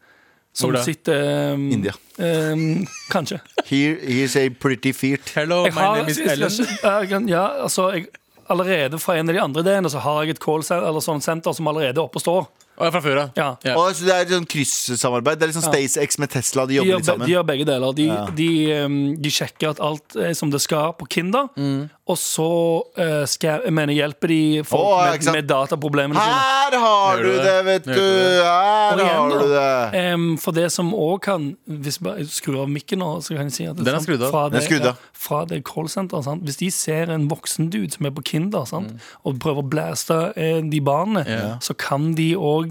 som Hvor da? sitter em, India. em, kanskje. Here, here's a pretty feet. Hello, Jeg my har, name is Ellen. Jeg kan- ja, altså, jeg, allerede fra en av de andre ideene så har jeg et callsenter eller sånn senter som allerede er oppe og står. Å, jeg er fra før av. Ja. Ja. Og så det er et sånn kryssamarbeid. Det er liksom SpaceX med Tesla. De De jobber gjør, litt be- sammen. de gjør begge deler. De, de, em, de sjekker at alt er som det skal på Kinder. Og så eh, skal, jeg mener, hjelper de folk Å, ja, ikke med, sant? med dataproblemene sine. Her har Hører du du det, det? vet Hører du! du Her Og igjen, har du da, det. em, for det som òg kan Hvis jeg bare skrur av mikken nå, så kan jeg si at det Den er sant, skrudd av. Fra Den er det, skrudd av. ja, fra det callsenteret, sant? Hvis de ser en voksen dude som er på Kinder sant? Mm. og prøver å blæste eh, de barna, så kan de òg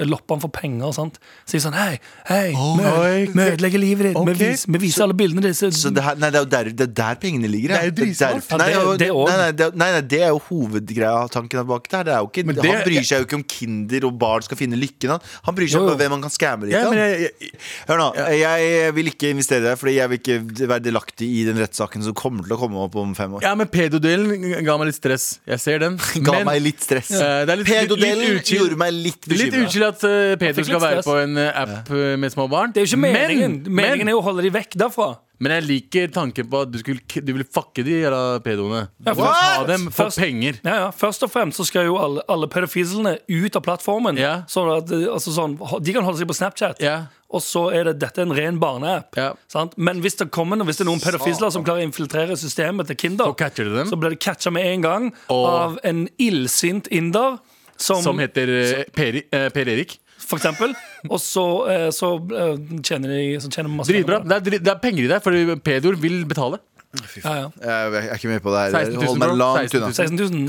loppe han for penger. Sant? Si sånn Hei, hei, vi- my vi ødelegger livet ditt. Ok. Vi, viser, vi viser alle bildene dine. Så det, her, nei, det er jo der, det er der pengene ligger. ja. Det er jo dritsmart. derfor- nei, Ja, det- det nei, også. nei, det- nei, nei, det er jo hovedgreia tanken bak der. Det er jo ikke, Men det- han bryr seg jo ikke om kinder og barn skal finne lykken. Han, han bryr seg Jo, om jo. hvem han kan skamme litt Ja, av. men jeg, jeg, Hør nå, jeg vil ikke investere i deg, Fordi jeg vil ikke være delaktig i den rettssaken som kommer til å komme opp om fem år. ja, men pedodelen ga meg litt stress. Jeg ser den. Ga Men- meg litt stress. Ja, det er litt- litt- litt Pedodelen utkild. gjorde meg litt Litt bekymra. utskilt at eh, Pedo fikk skal litt være stress. på en eh, app eh, med små barn. Det er jo ikke meningen. Men, meningen men, er jo å holde de vekk derfra. men jeg liker tanken på at du, skulle, k- du vil fucke de jævla pedoene. Du Ja, vil ta what? dem for Først- penger. Ja, ja. Først og fremst så skal jo alle, alle pedofilene ut av plattformen. Ja. Sånn at, eh, altså sånn, ho- de kan holde seg på Snapchat. Ja. Og så er det, dette er en ren barneapp. Ja. Sant? Men hvis det kommer noen- hvis det er noen pedofisler som klarer å infiltrere systemet til Kinder, Så catcher du dem. så blir det catcha med en gang Og- av en illsint inder. Som, Som heter eh, Peri, eh, Per Erik. for eksempel. Og så, eh, så eh, tjener de så tjener de masse Dritbra. penger på Det er, dri- det er penger i det, for pedoer vil betale. det. Ja, ja. Eh, Jeg er ikke med på det her. 16 000, Hold meg bro. langt 16 unna.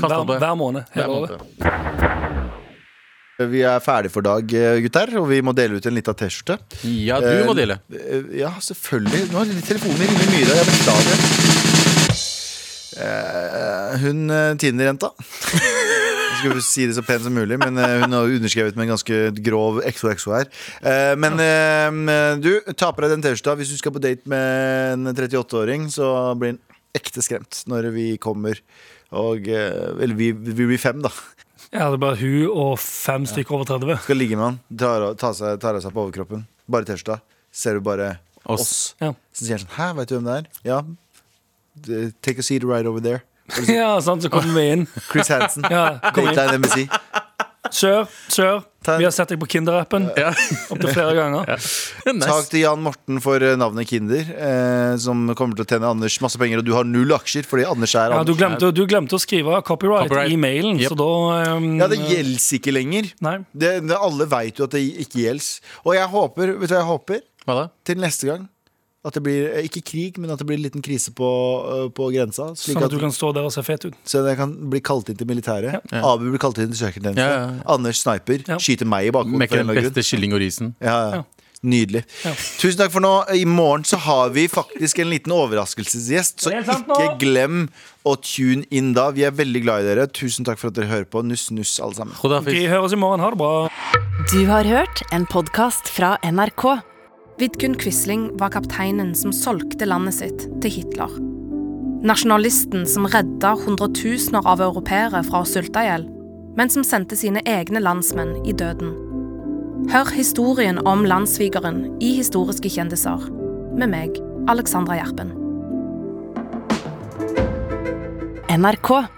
000. 16 000 Kast hver, opp det. hver måned. Det Hele er året. måned. Vi er ferdig for dag, eh, gutter, og vi må dele ut en lita T-skjorte. Ja, du må dele. Eh, Ja, selvfølgelig. Nå har telefonen min ringer mye. da. Jeg beklager. Eh, Hun eh, Tinder-jenta Jeg skulle si det så pent som mulig, men eh, hun har jo underskrevet med en ganske grov XOXO her. Eh, Men eh, du, ta på deg den T-skjorta hvis du skal på date med en 38-åring, så blir hun ekte skremt når vi kommer. Og, eh, eller vi, vi blir fem, da. Ja, det er bare hun og fem stykker over 30. Skal ligge med han. Tar, av- tar, seg, tar av seg på overkroppen. Bare T-skjorta. Ser du bare Oss. oss. Ja. Så sier han sånn, hæ, vet du hvem det er? Ja, D- take a seat right over there Ja, sant, så kommer vi inn. Chris Hansen, Ja, kom inn. Dateline MSI Sør, sør. Ta en- Vi har sett deg på Kinder-appen Ja. opptil flere ganger. Takk til Jan Morten for eh, navnet Kinder eh, Som kommer til å tjene Anders masse penger Og du har null aksjer, fordi Anders er Ja, du, Anders glemte, du glemte å skrive copyright, Copyright. i mailen, Yep. så da ehm, Ja, det gjelds ikke lenger Nei. det, det, Alle vet jo at det ikke gjelds Og jeg håper, vet du hva jeg håper? Hva da? Til neste gang at det blir, eh, ikke krig, men at det blir en liten krise på, eh, på grensa slik Sånn at- at du kan stå der og se fet ut. Så jeg kan bli kalt inn til militæret Abu blir kalt inn til søkertjeneste Ja, ja, ja. Anders sniper, Ja. skyter meg i bakhodet for Mekker en eller den annen grunn. beste kylling og risen. Ja, ja. Nydelig. Ja. Tusen takk for nå. I morgen så har vi faktisk en liten overraskelsesgjest, så Det er helt sant nå. ikke glem å tune inn da. Vi er veldig glad i dere. Tusen takk for at dere hører på. Nuss, nuss, alle sammen. Hodafis. Vi høres i morgen. Ha det bra. Du har hørt en podkast fra NRK. Vidkun Quisling var kapteinen som solgte landet sitt til Hitler. Nasjonalisten som redda hundretusener av europeere fra å sulte i hjel, men som sendte sine egne landsmenn i døden. Hør historien om landssvigeren i Historiske kjendiser med meg, Alexandra Gjerpen. NRK.